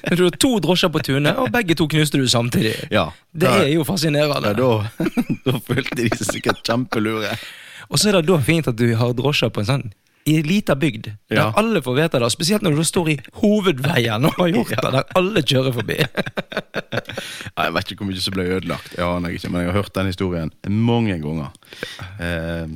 Speaker 1: Men Du har to drosjer på tunet, og begge to knuste du samtidig.
Speaker 3: Ja.
Speaker 1: Det
Speaker 3: Da-
Speaker 1: er jo
Speaker 3: Ja,
Speaker 1: fascinerende.
Speaker 3: da, da følte de seg sikkert kjempelure.
Speaker 1: Og så er det da fint at du har drosjer på en sånn i en liten bygd, der
Speaker 3: Ja.
Speaker 1: alle får vite det. Spesielt når du da står i hovedveien og har gjort det, der alle kjører forbi.
Speaker 3: Nei, Jeg vet ikke hvor mye som ble ødelagt, jeg aner ikke, men jeg har hørt den historien mange ganger. Eh,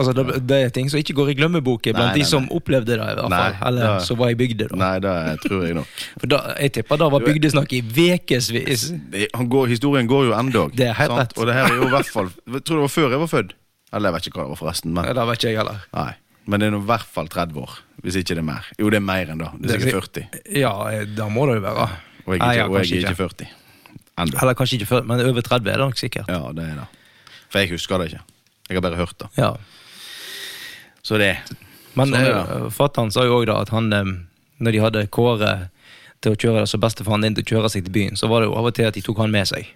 Speaker 1: Altså, det, det er ting som ikke går i glemmeboken blant
Speaker 3: Nei, nei,
Speaker 1: de som
Speaker 3: nei.
Speaker 1: opplevde det, i hvert fall.
Speaker 3: Nei,
Speaker 1: Eller
Speaker 3: ja.
Speaker 1: som var i bygda, da.
Speaker 3: nei, det tror jeg nok.
Speaker 1: For da, jeg tipper da var
Speaker 3: Du er-
Speaker 1: bygdesnakk i ukevis.
Speaker 3: Det, han går, historien går jo endog.
Speaker 1: Det er helt
Speaker 3: sant?
Speaker 1: rett.
Speaker 3: Og det her er jo i hvert fall Jeg tror det var før jeg var født. Eller jeg vet ikke hva det var, forresten. Men,
Speaker 1: Det vet ikke jeg heller.
Speaker 3: nei. men det er nå i hvert fall 30 år. Hvis ikke det er mer. Jo, det er mer enn da. Det er
Speaker 1: Det er
Speaker 3: sikkert 40.
Speaker 1: Ja, det må det jo være.
Speaker 3: Og jeg
Speaker 1: Nei,
Speaker 3: er
Speaker 1: ja,
Speaker 3: ikke, og
Speaker 1: kanskje
Speaker 3: jeg er ikke 40. Enda.
Speaker 1: Eller kanskje ikke før, men over 30 er det nok sikkert.
Speaker 3: Ja, det er det. For jeg husker det ikke. Jeg har bare hørt det.
Speaker 1: Ja.
Speaker 3: Så det
Speaker 1: Men
Speaker 3: Sånn er det.
Speaker 1: eh, fatter'n sa jo òg at han, eh, når de hadde Kåre til å kjøre, altså bestefaren din til å kjøre seg til byen, så var det jo av og til at de tok han med seg.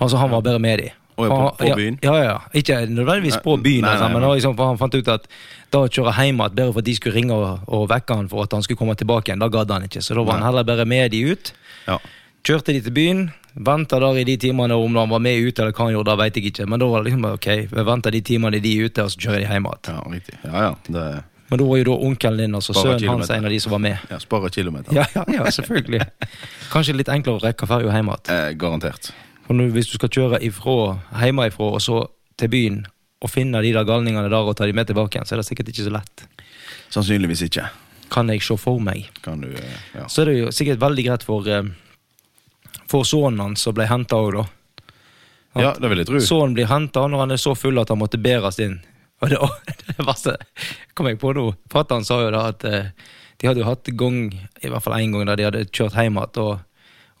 Speaker 1: Altså Han var bare med de.
Speaker 3: Å, ja, på-
Speaker 1: Han-
Speaker 3: på byen?
Speaker 1: Ja, ja, ja. Ikke nødvendigvis på
Speaker 3: Nei,
Speaker 1: byen,
Speaker 3: nei,
Speaker 1: altså, men
Speaker 3: nei, nei.
Speaker 1: det var liksom, for han fant ut at da å kjøre hjem igjen, bare for at de skulle ringe og, og vekke han for at han skulle komme tilbake igjen, da gadd han ikke. Så da var han heller bare med de ut.
Speaker 3: Ja.
Speaker 1: Kjørte de til byen, venta der i de timene, og om han var med ute eller hva han gjorde, da vet jeg ikke, men da var det liksom bare ok, vi venter de timene de er ute, og så kjører de hjem igjen.
Speaker 3: ja, riktig. Ja, ja. Det
Speaker 1: Men da var jo da onkelen din, altså
Speaker 3: Bare
Speaker 1: sønnen hans,
Speaker 3: kilometer.
Speaker 1: en av de som var med.
Speaker 3: ja, sparer kilometer.
Speaker 1: Ja, ja, ja, selvfølgelig. Kanskje litt enklere å rekke ferja hjem igjen.
Speaker 3: Eh, garantert.
Speaker 1: For nå, Hvis du skal kjøre ifra, hjemmefra og så til byen, og finne de der galningene der og ta de med tilbake igjen, så er det sikkert ikke så lett.
Speaker 3: Sannsynligvis ikke.
Speaker 1: Kan jeg se for meg.
Speaker 3: Kan du eh, Ja.
Speaker 1: Så er det jo sikkert veldig greit for, eh, for sønnen hans som ble henta òg, da.
Speaker 3: ja, det vil jeg tro.
Speaker 1: Sønnen blir henta når han er så full at han måtte bæres inn. Og det, det verste kom jeg på nå. Fatter'n sa jo da at eh, de hadde jo hatt gang, i hvert fall én gang, der de hadde kjørt hjem igjen. Og,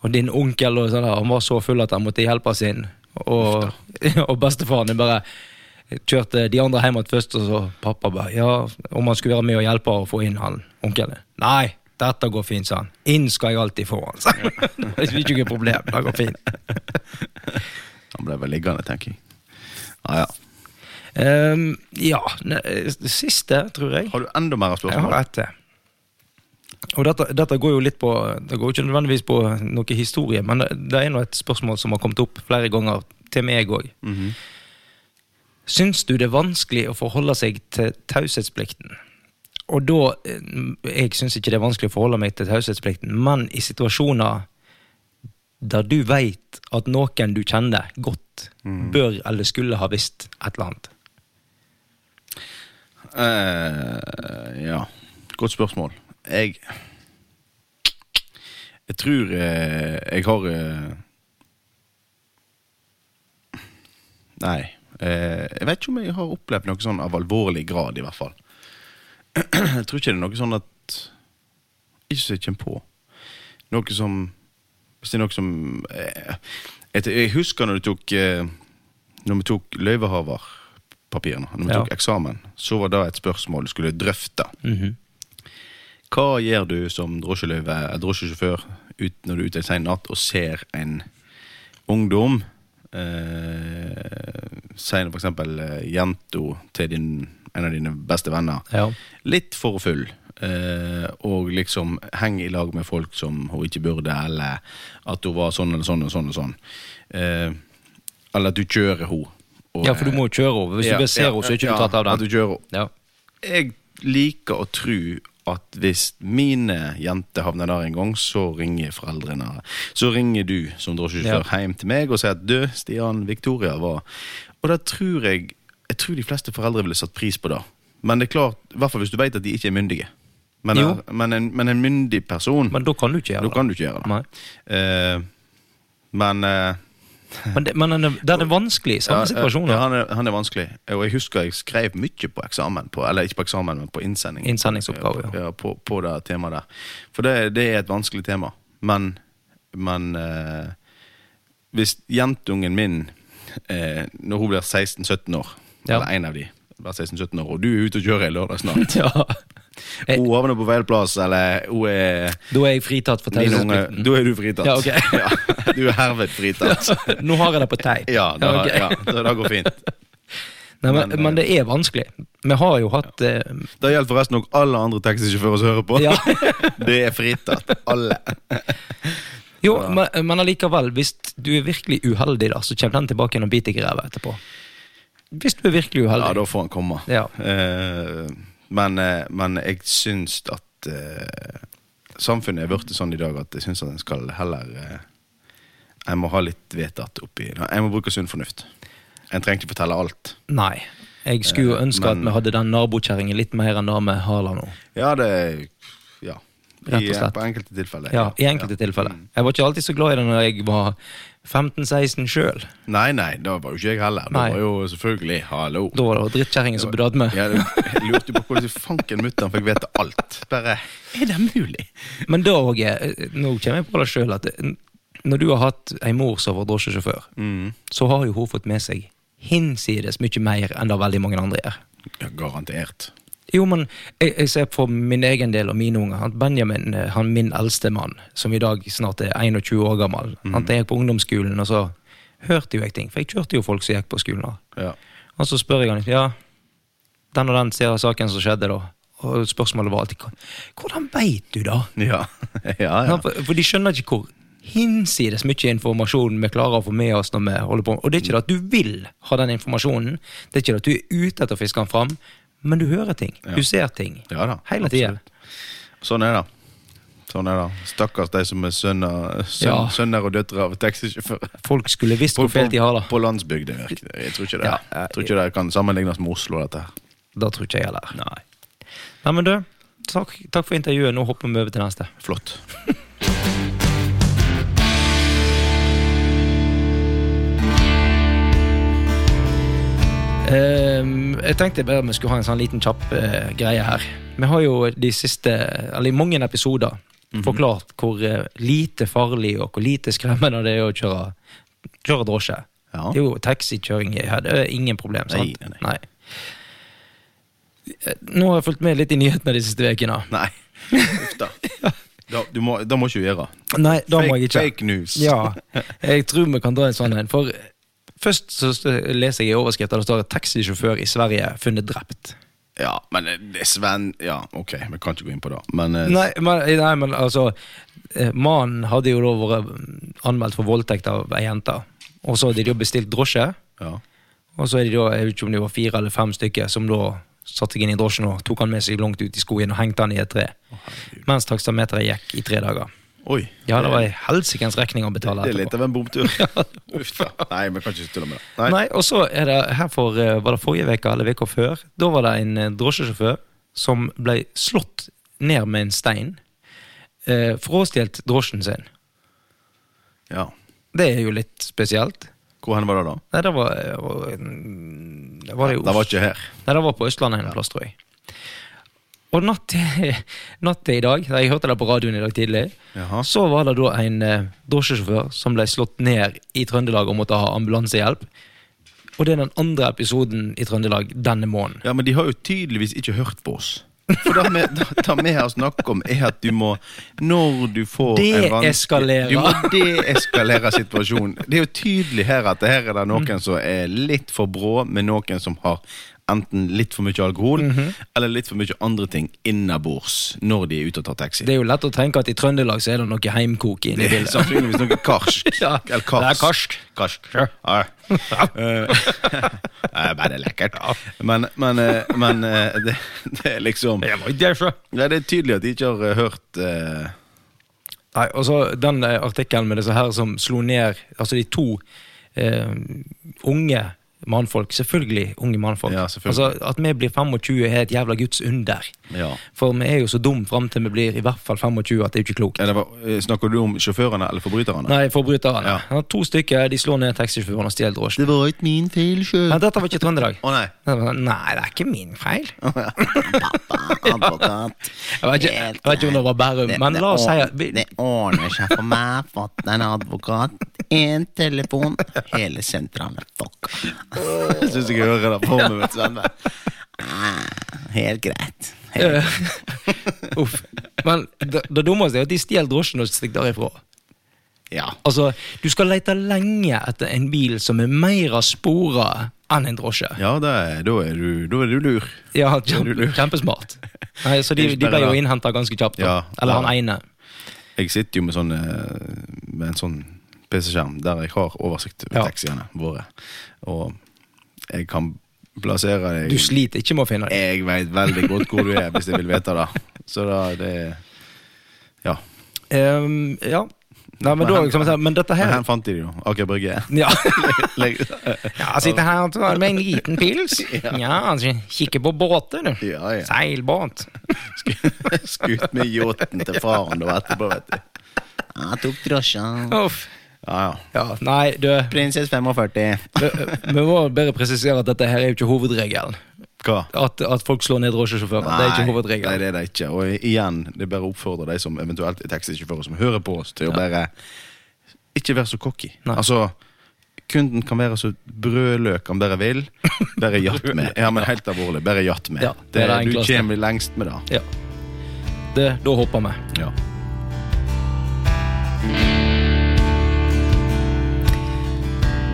Speaker 1: og din onkel og sånn der, han var så full at han måtte hjelpes inn. Og, og bestefaren din bare kjørte de andre hjem igjen først, og så pappa bare Ja, om han skulle være med og hjelpe å få inn han onkelen. Nei, dette går fint, sa han. Inn skal jeg alltid få han, sa han. Det er ikke noe problem. Det går fint.
Speaker 3: Han ble vel liggende, tenker jeg. Ja, ja.
Speaker 1: Ehm, ja, ne- det siste, tror jeg.
Speaker 3: Har du enda mer
Speaker 1: Jeg har
Speaker 3: spørsmål?
Speaker 1: ett til. Og dette, dette går jo litt på Det går jo ikke nødvendigvis på noe historie, men det, det er nå et spørsmål som har kommet opp flere ganger til meg òg.
Speaker 3: Mhm.
Speaker 1: Syns du det er vanskelig å forholde seg til taushetsplikten? Og da eh, Jeg syns ikke det er vanskelig å forholde meg til taushetsplikten, men i situasjoner der du veit at noen du kjenner godt,
Speaker 3: Mhm.
Speaker 1: bør eller skulle ha visst et eller annet.
Speaker 3: Eh, ja. Godt spørsmål. Jeg Jeg tror eh, jeg har eh, Nei. Eh, jeg vet ikke om jeg har opplevd noe sånn av alvorlig grad, i hvert fall. jeg tror ikke det er noe sånn at Ikke som jeg kommer på. Noe som Hvis det er noe som eh, et, Jeg husker når du tok eh, Når vi tok løyvehaverpapirene, når vi
Speaker 1: Ja.
Speaker 3: tok eksamen, så var det et spørsmål du skulle drøfte.
Speaker 1: Mhm.
Speaker 3: Hva gjør du som drosjeløyve, eh, drosjesjåfør ut, når du er ute en sen natt og ser en ungdom eh, Si nå for eksempel eh, jenta til din, en av dine beste venner.
Speaker 1: Ja.
Speaker 3: Litt for full. Eh, og liksom henge i lag med folk som hun ikke burde, eller at hun var sånn eller sånn og sånn og sånn. Eh, eller at du kjører henne.
Speaker 1: Ja, for du må jo kjøre over. Hvis du bare ser henne, så er ikke du tatt av
Speaker 3: At
Speaker 1: den.
Speaker 3: du kjører
Speaker 1: Ja.
Speaker 3: jeg liker å tro at hvis mine jenter havner der en gang, så ringer foreldrene Så ringer du som drosjesjåfør hjem til meg og sier at 'du, Stian, Victoria var Og da tror jeg Jeg tror de fleste foreldre ville satt pris på det. Men det er klart, i hvert fall hvis du vet at de ikke er myndige. Men,
Speaker 1: Jo.
Speaker 3: men, en, men en myndig person
Speaker 1: Men da kan du ikke
Speaker 3: Da
Speaker 1: gjøre det.
Speaker 3: kan du ikke gjøre det.
Speaker 1: Nei.
Speaker 3: Eh, men eh,
Speaker 1: Men, det, men den er- den er vanskelig. Samme
Speaker 3: Ja, eh,
Speaker 1: situasjon.
Speaker 3: Ja,
Speaker 1: da.
Speaker 3: han, er, han er vanskelig. Og jeg husker jeg skrev mye på eksamen, på, eller ikke på eksamen, men på innsending.
Speaker 1: Innsendingsoppgave,
Speaker 3: ja. på, på det temaet der. For det, det er et vanskelig tema. Men, men eh, hvis jentungen min, eh, når hun blir 16-17 år,
Speaker 1: Ja.
Speaker 3: eller en av de, blir 16-17 år, og du er ute og kjører en lørdag snart
Speaker 1: Ja. Jeg-
Speaker 3: Hun havner på feil plass, eller hun er
Speaker 1: Da er jeg fritatt for
Speaker 3: din unge.
Speaker 1: taushetsplikten.
Speaker 3: Da er du fritatt.
Speaker 1: Ja, ok.
Speaker 3: Ja, du er herved fritatt.
Speaker 1: Nå har jeg det på teip.
Speaker 3: Ja, det,
Speaker 1: ok.
Speaker 3: ja, det, det går fint.
Speaker 1: Nei, men,
Speaker 3: men, eh,
Speaker 1: men det er vanskelig. Vi har jo hatt eh,
Speaker 3: Det gjelder forresten også alle andre taxisjåfører som hører på.
Speaker 1: Ja.
Speaker 3: det er fritatt. Alle.
Speaker 1: Jo, men, eh, men allikevel, hvis du er virkelig uheldig, da, så kommer den tilbake igjen og biter deg i ræva etterpå. Hvis du er virkelig
Speaker 3: Ja,
Speaker 1: uheldig.
Speaker 3: da får han komme.
Speaker 1: Ja.
Speaker 3: Eh, men, eh, men jeg syns at eh, samfunnet er blitt sånn i dag at jeg syns at en skal heller eh, Jeg må ha litt vedtatt oppi Jeg må bruke sunn fornuft. En trenger ikke fortelle alt.
Speaker 1: Nei. Jeg skulle jo ønske
Speaker 3: Eh,
Speaker 1: at
Speaker 3: men-
Speaker 1: vi hadde den nabokjerringen litt mer enn det vi har der nå.
Speaker 3: Ja, det Ja.
Speaker 1: Rett og
Speaker 3: I,
Speaker 1: slett.
Speaker 3: på enkelte tilfeller.
Speaker 1: Ja, I enkelte
Speaker 3: Ja.
Speaker 1: tilfeller. Jeg var ikke alltid så glad i det når jeg var 15-16 sjøl.
Speaker 3: Nei, nei, det var jo ikke jeg heller. Det
Speaker 1: Nei.
Speaker 3: var jo selvfølgelig hallo.
Speaker 1: Da var det drittkjerringen som bedøvde meg.
Speaker 3: Ja, jeg lurte på hvordan fanken mutter'n fikk vite alt. Bare Er det mulig?
Speaker 1: Men da òg Nå kommer jeg på det sjøl at eh, når du har hatt ei mor som var drosjesjåfør,
Speaker 3: Mm.
Speaker 1: så har jo hun fått med seg hinsides mye mer enn det veldig mange andre gjør.
Speaker 3: Ja, garantert.
Speaker 1: Jo, men jeg, jeg ser for min egen del og mine unger at Benjamin, eh, han min eldste mann, som i dag snart er 21 år gammel, han gikk på ungdomsskolen, og så hørte jo jeg ting. For jeg kjørte jo folk som gikk på skolen. da.
Speaker 3: Ja.
Speaker 1: Og så spør jeg han ja, den og den ser av saken som skjedde, da. Og spørsmålet var alltid hvordan veit du det?
Speaker 3: Ja, ja. ja.
Speaker 1: Ja, for, for de skjønner ikke hvor hinsides mye informasjon vi klarer å få med oss når vi holder på. Og det er ikke det at du vil ha den informasjonen, det er ikke det at du er ute etter å fiske den fram, men du hører ting. Du ser ting.
Speaker 3: Ja da,
Speaker 1: Hele tiden.
Speaker 3: Sånn er det. Sånn er det. Stakkars de som er sønner, søn,
Speaker 1: Ja.
Speaker 3: sønner og døtre av taxisjåfører.
Speaker 1: Folk skulle visst hvor feil de har det.
Speaker 3: på landsbygda. virker det. Jeg tror ikke det
Speaker 1: Ja.
Speaker 3: Jeg tror ikke det kan sammenlignes med Oslo, dette her.
Speaker 1: Det tror ikke jeg heller. Nei. men du, takk, takk for intervjuet. Nå hopper vi over til neste.
Speaker 3: Flott.
Speaker 1: Ehm, jeg tenkte bare vi skulle ha en sånn liten kjapp eh, greie her. Vi har jo de siste, eller i mange episoder,
Speaker 3: Mhm.
Speaker 1: forklart hvor eh, lite farlig og hvor lite skremmende det er å kjøre, kjøre drosje.
Speaker 3: Ja.
Speaker 1: Det er jo taxikjøring her, det er ingen problem, sant?
Speaker 3: Nei, nei, nei.
Speaker 1: Eh, Nå har jeg fulgt med litt i nyhetene de siste ukene.
Speaker 3: Nei. Uff da. Da, du må, da må ikke du gjøre.
Speaker 1: Nei, da må
Speaker 3: Fake-
Speaker 1: jeg ikke.
Speaker 3: fake news.
Speaker 1: Ja, jeg tror vi kan dra en sånn en. For først så st- leser jeg i overskriften, det står at taxisjåfør i Sverige funnet drept.
Speaker 3: Ja, men eh, det er Sven Ja, ok, vi kan ikke gå inn på det. Men eh,
Speaker 1: Nei, men, nei, men altså eh, Mannen hadde jo da vært mm, anmeldt for voldtekt av ei jente. Og så hadde de jo bestilt drosje,
Speaker 3: ja.
Speaker 1: og så er de da, jeg vet ikke om det var fire eller fem stykker som da satte seg inn i drosjen og tok han med seg langt ut i skogen og hengte han i et tre. Mens taksameteret gikk i tre dager.
Speaker 3: Oi.
Speaker 1: Ja, det var ei helsikens regning å betale
Speaker 3: Det er litt
Speaker 1: etterpå.
Speaker 3: av en bomtur. Uff da. Nei, vi kan ikke tulle med det. Nei.
Speaker 1: Nei, og så er det her for, eh, var det forrige veke eller veka før, da var det en eh, drosjesjåfør som ble slått ned med en stein, eh, frastjålet drosjen sin.
Speaker 3: Ja.
Speaker 1: Det er jo litt spesielt.
Speaker 3: Hvor hen var det da?
Speaker 1: Nei, det var, øh, det var, det jo,
Speaker 3: Det var ikke her.
Speaker 1: Nei, det var på Østlandet en plass, tror jeg. Og natt til, natt til i dag, da jeg hørte det på radioen i dag tidlig,
Speaker 3: Jaha.
Speaker 1: så var det da en eh, drosjesjåfør som ble slått ned i Trøndelag og måtte ha ambulansehjelp. Og det er den andre episoden i Trøndelag denne måneden.
Speaker 3: Ja, men de har jo tydeligvis ikke hørt på oss. For det vi, det- det vi har snakket om, er at du må Når du får en vanskelig-
Speaker 1: Deeskalere.
Speaker 3: Du må deeskalere situasjonen. Det er jo tydelig her at det her er
Speaker 1: Mm.
Speaker 3: det noen som er litt for brå med noen som har enten litt for mye alkohol
Speaker 1: Mhm.
Speaker 3: eller litt for mye andre ting innabords når de er ute og tar taxi.
Speaker 1: Det er jo lett å tenke at i Trøndelag så er det noe heimkok inne i
Speaker 3: Det er
Speaker 1: bildet.
Speaker 3: sannsynligvis noe karsk.
Speaker 1: Ja,
Speaker 3: Eller
Speaker 1: det er
Speaker 3: karsk.
Speaker 1: karsk.
Speaker 3: Karsk.
Speaker 1: Ja.
Speaker 3: Ja. Eh, eh, Bare lekkert. Men, men, eh, men eh, det, det er liksom
Speaker 1: Jeg var ikke der, så.
Speaker 3: Nei, Det er tydelig at de ikke har eh, hørt eh,
Speaker 1: Nei, og så den eh, artikkelen med disse her som slo ned Altså de to eh, unge mannfolk. Selvfølgelig unge mannfolk.
Speaker 3: Ja, selvfølgelig.
Speaker 1: altså, at vi blir 25 er et jævla guds under.
Speaker 3: Ja.
Speaker 1: For vi er jo så dum fram til vi blir i hvert fall 25 at det er jo ikke klokt.
Speaker 3: Ja, det var, eh, snakker du om sjåførene eller forbryterne?
Speaker 1: Nei, forbryterne.
Speaker 3: Ja.
Speaker 1: Han har To stykker de slår ned taxisjåføren og stjeler drosjen.
Speaker 3: Det var ikke min feil sjøl.
Speaker 1: Men
Speaker 3: Å
Speaker 1: dette var ikke Trøndelag.
Speaker 3: nei.
Speaker 1: Nei, det er ikke min feil.
Speaker 4: Advokat.
Speaker 1: Jeg vet ikke, jeg vet ikke om det var Bærum,
Speaker 4: Det-
Speaker 1: men
Speaker 4: det
Speaker 1: la oss si
Speaker 4: ord-
Speaker 1: at vi-
Speaker 4: Det ordner seg for meg. Fått en advokat, én telefon, hele sentralen er fucka.
Speaker 3: Jeg syns jeg hører det på meg. vet du.
Speaker 4: Sånn, ah, Helt greit. Helt.
Speaker 1: Eh, Uff. Men det, det dummeste er jo at de stjeler drosjen og stikker derifra.
Speaker 3: Ja.
Speaker 1: Altså, du skal lete lenge etter en bil som er mer av sporet enn en drosje.
Speaker 3: Ja, det er, da, er du, da er du lur.
Speaker 1: Ja, kjempe, kjempesmart. Nei, så de,
Speaker 3: Det er
Speaker 1: de ble jo
Speaker 3: sperret.
Speaker 1: innhenta ganske kjapt. da.
Speaker 3: Ja,
Speaker 1: Eller han
Speaker 3: ja.
Speaker 1: ene.
Speaker 3: Jeg sitter jo med, sånn, eh, med en sånn PC-skjerm der jeg har oversikt over
Speaker 1: Ja.
Speaker 3: taxiene våre. Og jeg kan plassere deg
Speaker 1: Du sliter ikke med å finne dem.
Speaker 3: Jeg veit veldig godt hvor du er, hvis jeg vil vite det. Så da, det Ja.
Speaker 1: Ehm, ja. Nei, men,
Speaker 3: Men
Speaker 1: da,
Speaker 3: han-
Speaker 1: liksom, men dette
Speaker 3: Men
Speaker 1: her
Speaker 3: her fant de det jo. Aker Brygge.
Speaker 1: ja.
Speaker 3: Legg-
Speaker 1: ja, sitter her og tar med en liten pils. Ja, altså, kikker på båter, du.
Speaker 3: Ja, ja.
Speaker 1: Seilbåt.
Speaker 3: Sk- Skutt med yachten til faren da etterpå, vet du.
Speaker 4: Ja, tok drosja.
Speaker 1: Uff.
Speaker 3: Ja, ja.
Speaker 1: Ja, nei, du
Speaker 4: Prinsesse 45.
Speaker 1: vi, vi må bare presisere at dette her er jo ikke hovedregelen.
Speaker 3: Hva?
Speaker 1: At, at folk slår ned drosjesjåfører. Det er ikke
Speaker 3: Nei,
Speaker 1: hovedregelen.
Speaker 3: det er det ikke. Og igjen, det er bare å oppfordre de som eventuelt er taxisjåfører som hører på oss, til å bare ikke være så cocky.
Speaker 1: Nei.
Speaker 3: Altså, kunden kan være så brødløk han bare vil. Bare jatt med. Ja, men helt alvorlig, bare jatt med.
Speaker 1: Ja, det
Speaker 3: det
Speaker 1: er det
Speaker 3: du
Speaker 1: enkleste.
Speaker 3: kommer lengst med det.
Speaker 1: Ja. Det, da hopper vi.
Speaker 3: Ja.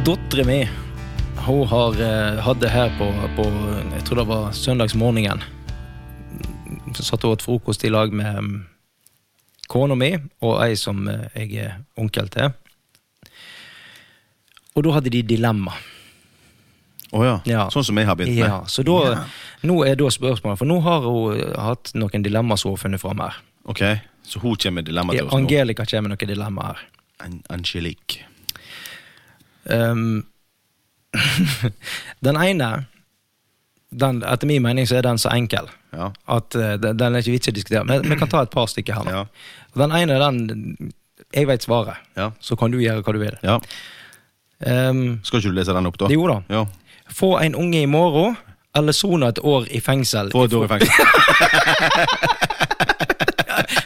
Speaker 1: Dattera mi hun har, eh, hadde her på, på Jeg tror det var søndagsmorgenen. Så satt hun åt frokost i lag med mm, kona mi og ei som eh, jeg er onkel til. Og da hadde de dilemma.
Speaker 3: Å ja.
Speaker 1: Ja.
Speaker 3: Sånn som jeg har begynt med.
Speaker 1: Ja, så da, Nå er da spørsmålet, for nå har hun eh, hatt noen dilemma som hun har funnet fram her.
Speaker 3: Ok, Så hun kommer med dilemma til oss nå.
Speaker 1: Angelica kommer med noen dilemma her.
Speaker 3: An- Angelique.
Speaker 1: Ehm, den ene, den, etter min mening så er den så enkel
Speaker 3: Ja.
Speaker 1: at eh, den, den er ikke vits i å diskutere. Men vi kan ta et par stykker her nå.
Speaker 3: Ja.
Speaker 1: Den ene, den Jeg vet svaret,
Speaker 3: Ja.
Speaker 1: så kan du gjøre hva du vil.
Speaker 3: ja.
Speaker 1: Ehm,
Speaker 3: Skal ikke du lese den opp, da?
Speaker 1: jo da.
Speaker 3: Ja.
Speaker 1: Få en unge i morgen, eller sone et år i fengsel.
Speaker 3: Få et år i fengsel.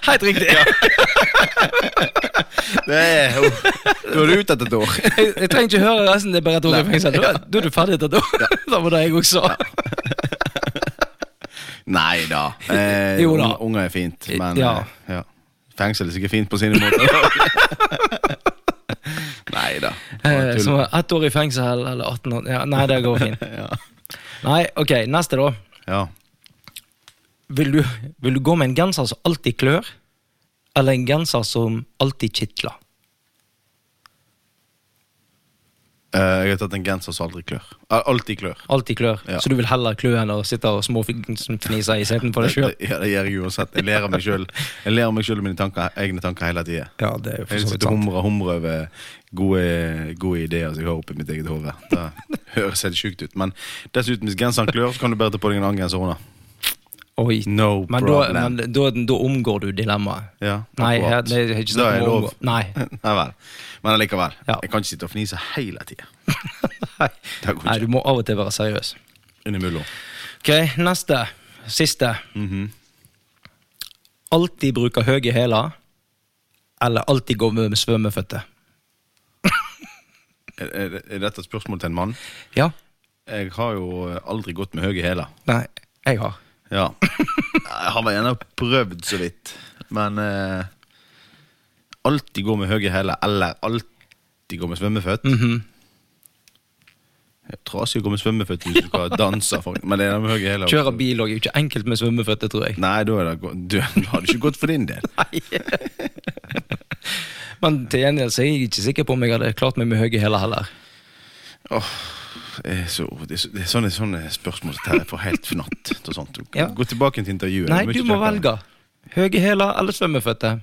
Speaker 1: Helt riktig!
Speaker 3: Det er jo Da er du ute etter et år.
Speaker 1: Jeg, jeg trenger ikke høre resten, det er bare et år i fengsel. Da, da er du ferdig etter et år. det var det jeg også sa.
Speaker 3: Nei da. Eh,
Speaker 1: Jo da.
Speaker 3: un- Unger er fint, men
Speaker 1: Ja.
Speaker 3: eh, ja. Fengsel er sikkert fint på sine måter. Nei da.
Speaker 1: Eh, Som var ett år i fengsel eller 18 år ja, Nei, det går fint. Nei, ok, neste da.
Speaker 3: Ja.
Speaker 1: Vil du, vil du gå med en genser som alltid klør, eller en genser som alltid kitler?
Speaker 3: Eh, jeg har tatt en genser som aldri klør. Al- Alltid klør.
Speaker 1: Alltid klør.
Speaker 3: Ja.
Speaker 1: Så du vil heller klø enn å sitte og småfniser i seten på deg sjøl?
Speaker 3: Ja, det gjør jeg uansett. Jeg ler av meg sjøl og mine tanker, egne tanker hele tida.
Speaker 1: Ja, det er jo
Speaker 3: Jeg
Speaker 1: for så vidt
Speaker 3: sitter og
Speaker 1: sant.
Speaker 3: humrer og humrer over gode, gode ideer som jeg har oppi mitt eget hode. Det høres helt sjukt ut. Men dessuten, hvis genseren klør, så kan du bare ta på deg en annen genser under.
Speaker 1: Oi.
Speaker 3: No
Speaker 1: Men, da,
Speaker 3: problem.
Speaker 1: men da, da omgår du dilemmaet.
Speaker 3: Ja,
Speaker 1: Nei,
Speaker 3: akkurat.
Speaker 1: det er ikke
Speaker 3: Da er
Speaker 1: snakk om å
Speaker 3: lov.
Speaker 1: omgå. Nei.
Speaker 3: Nei vel. Men allikevel.
Speaker 1: Ja.
Speaker 3: Jeg kan ikke sitte og fnise hele tida. Det går
Speaker 1: Nei,
Speaker 3: ikke.
Speaker 1: du må av og til være seriøs.
Speaker 3: Innimellom.
Speaker 1: Ok, neste. Siste.
Speaker 3: Mhm.
Speaker 1: Alltid bruke høye hæler, eller alltid gå med svømmeføtter?
Speaker 3: Er, er, er dette et spørsmål til en mann?
Speaker 1: Ja.
Speaker 3: Jeg har jo aldri gått med høye hæler.
Speaker 1: Nei, jeg har.
Speaker 3: Ja. Jeg har vel gjerne prøvd så vidt, men eh, Alltid gå med høye hæler, eller alltid gå med svømmeføtt.
Speaker 1: Mm. Mhm.
Speaker 3: Trasig å gå med svømmeføtt hvis du skal danse, for, men det er det med høye hæler.
Speaker 1: Kjøre bil og ikke enkelt med svømmeføtter, tror jeg.
Speaker 3: Nei, da er det, gå- du, da har det ikke gått for din del.
Speaker 1: Men til gjengjeld så er jeg ikke sikker på om jeg hadde klart meg med høye hæler heller.
Speaker 3: Det er, så, det, er så, det er sånne, sånne spørsmål som tar jeg for helt fnatt. og sånt.
Speaker 1: Ja.
Speaker 3: Gå tilbake til intervjuet.
Speaker 1: Nei,
Speaker 3: det er mye
Speaker 1: du må
Speaker 3: kjekkere.
Speaker 1: velge. Høye hæler eller svømmeføtter?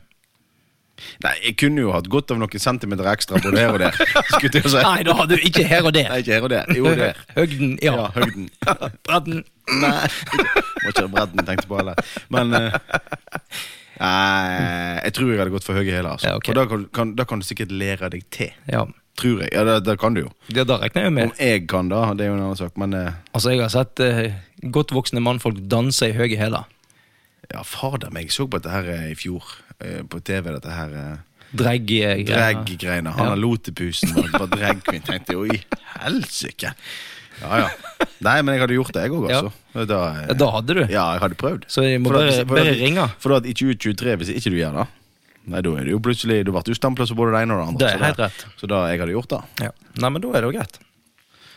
Speaker 3: Nei, jeg kunne jo hatt godt av noen centimeter ekstra både her og der. Skulle til å si.
Speaker 1: Nei, da har du ikke her og der.
Speaker 3: Nei, ikke her og der. Jo, der.
Speaker 1: Høgden, ja.
Speaker 3: Ja, høgden.
Speaker 1: Bredden.
Speaker 3: Nei, må ikke ha bredden tenkte på heller. Men eh, Nei, jeg tror jeg hadde gått for høye hæler. Altså.
Speaker 1: Ja, ok.
Speaker 3: For da kan, kan, da kan du sikkert lære deg til.
Speaker 1: Ja,
Speaker 3: Tror jeg. Ja, det, det kan du jo.
Speaker 1: det da regner jeg
Speaker 3: Om
Speaker 1: med.
Speaker 3: jeg kan, da. Det er jo en annen sak. Men eh,
Speaker 1: Altså, jeg har sett eh, godt voksne mannfolk danse i høye hæler.
Speaker 3: ja, fader meg. Jeg så på dette her eh, i fjor. eh, På TV, dette her eh,
Speaker 1: Drag... eh, greier.
Speaker 3: drag-greiene. Han har lotepusen og var drag queen. Tenkte jo i helsike. Ja, ja. Nei, men jeg hadde gjort det, jeg òg,
Speaker 1: Ja.
Speaker 3: altså. Da, eh,
Speaker 1: Ja, Da hadde du.
Speaker 3: Ja, jeg hadde prøvd.
Speaker 1: Så jeg må
Speaker 3: For at-
Speaker 1: bare-
Speaker 3: for at-
Speaker 1: bare ringe.
Speaker 3: For at i 2023, hvis ikke du gjør det, nei, da er det jo plutselig, du ble jo stempla som både det ene og det andre.
Speaker 1: Det er
Speaker 3: så
Speaker 1: helt rett.
Speaker 3: Så da jeg hadde gjort det.
Speaker 1: Ja. Nei, men da er det jo greit.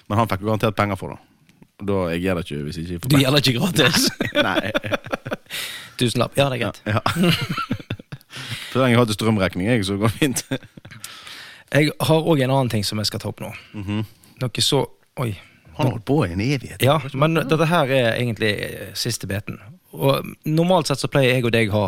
Speaker 3: Men han fikk jo garantert penger for det. Og Da jeg gjør det ikke hvis ikke jeg får
Speaker 1: Du gjelder ikke gratis.
Speaker 3: penger. Nei.
Speaker 1: Tusenlapp. Ja, det er
Speaker 3: Ja.
Speaker 1: greit.
Speaker 3: ja. Så lenge jeg har til strømregning, jeg, så går det fint.
Speaker 1: Jeg har òg en annen ting som jeg skal ta opp nå. Noe så Oi.
Speaker 3: Han har holdt på i en evighet.
Speaker 1: Ja, men dette her er egentlig eh, siste biten. Og Normalt sett så pleier jeg og deg ha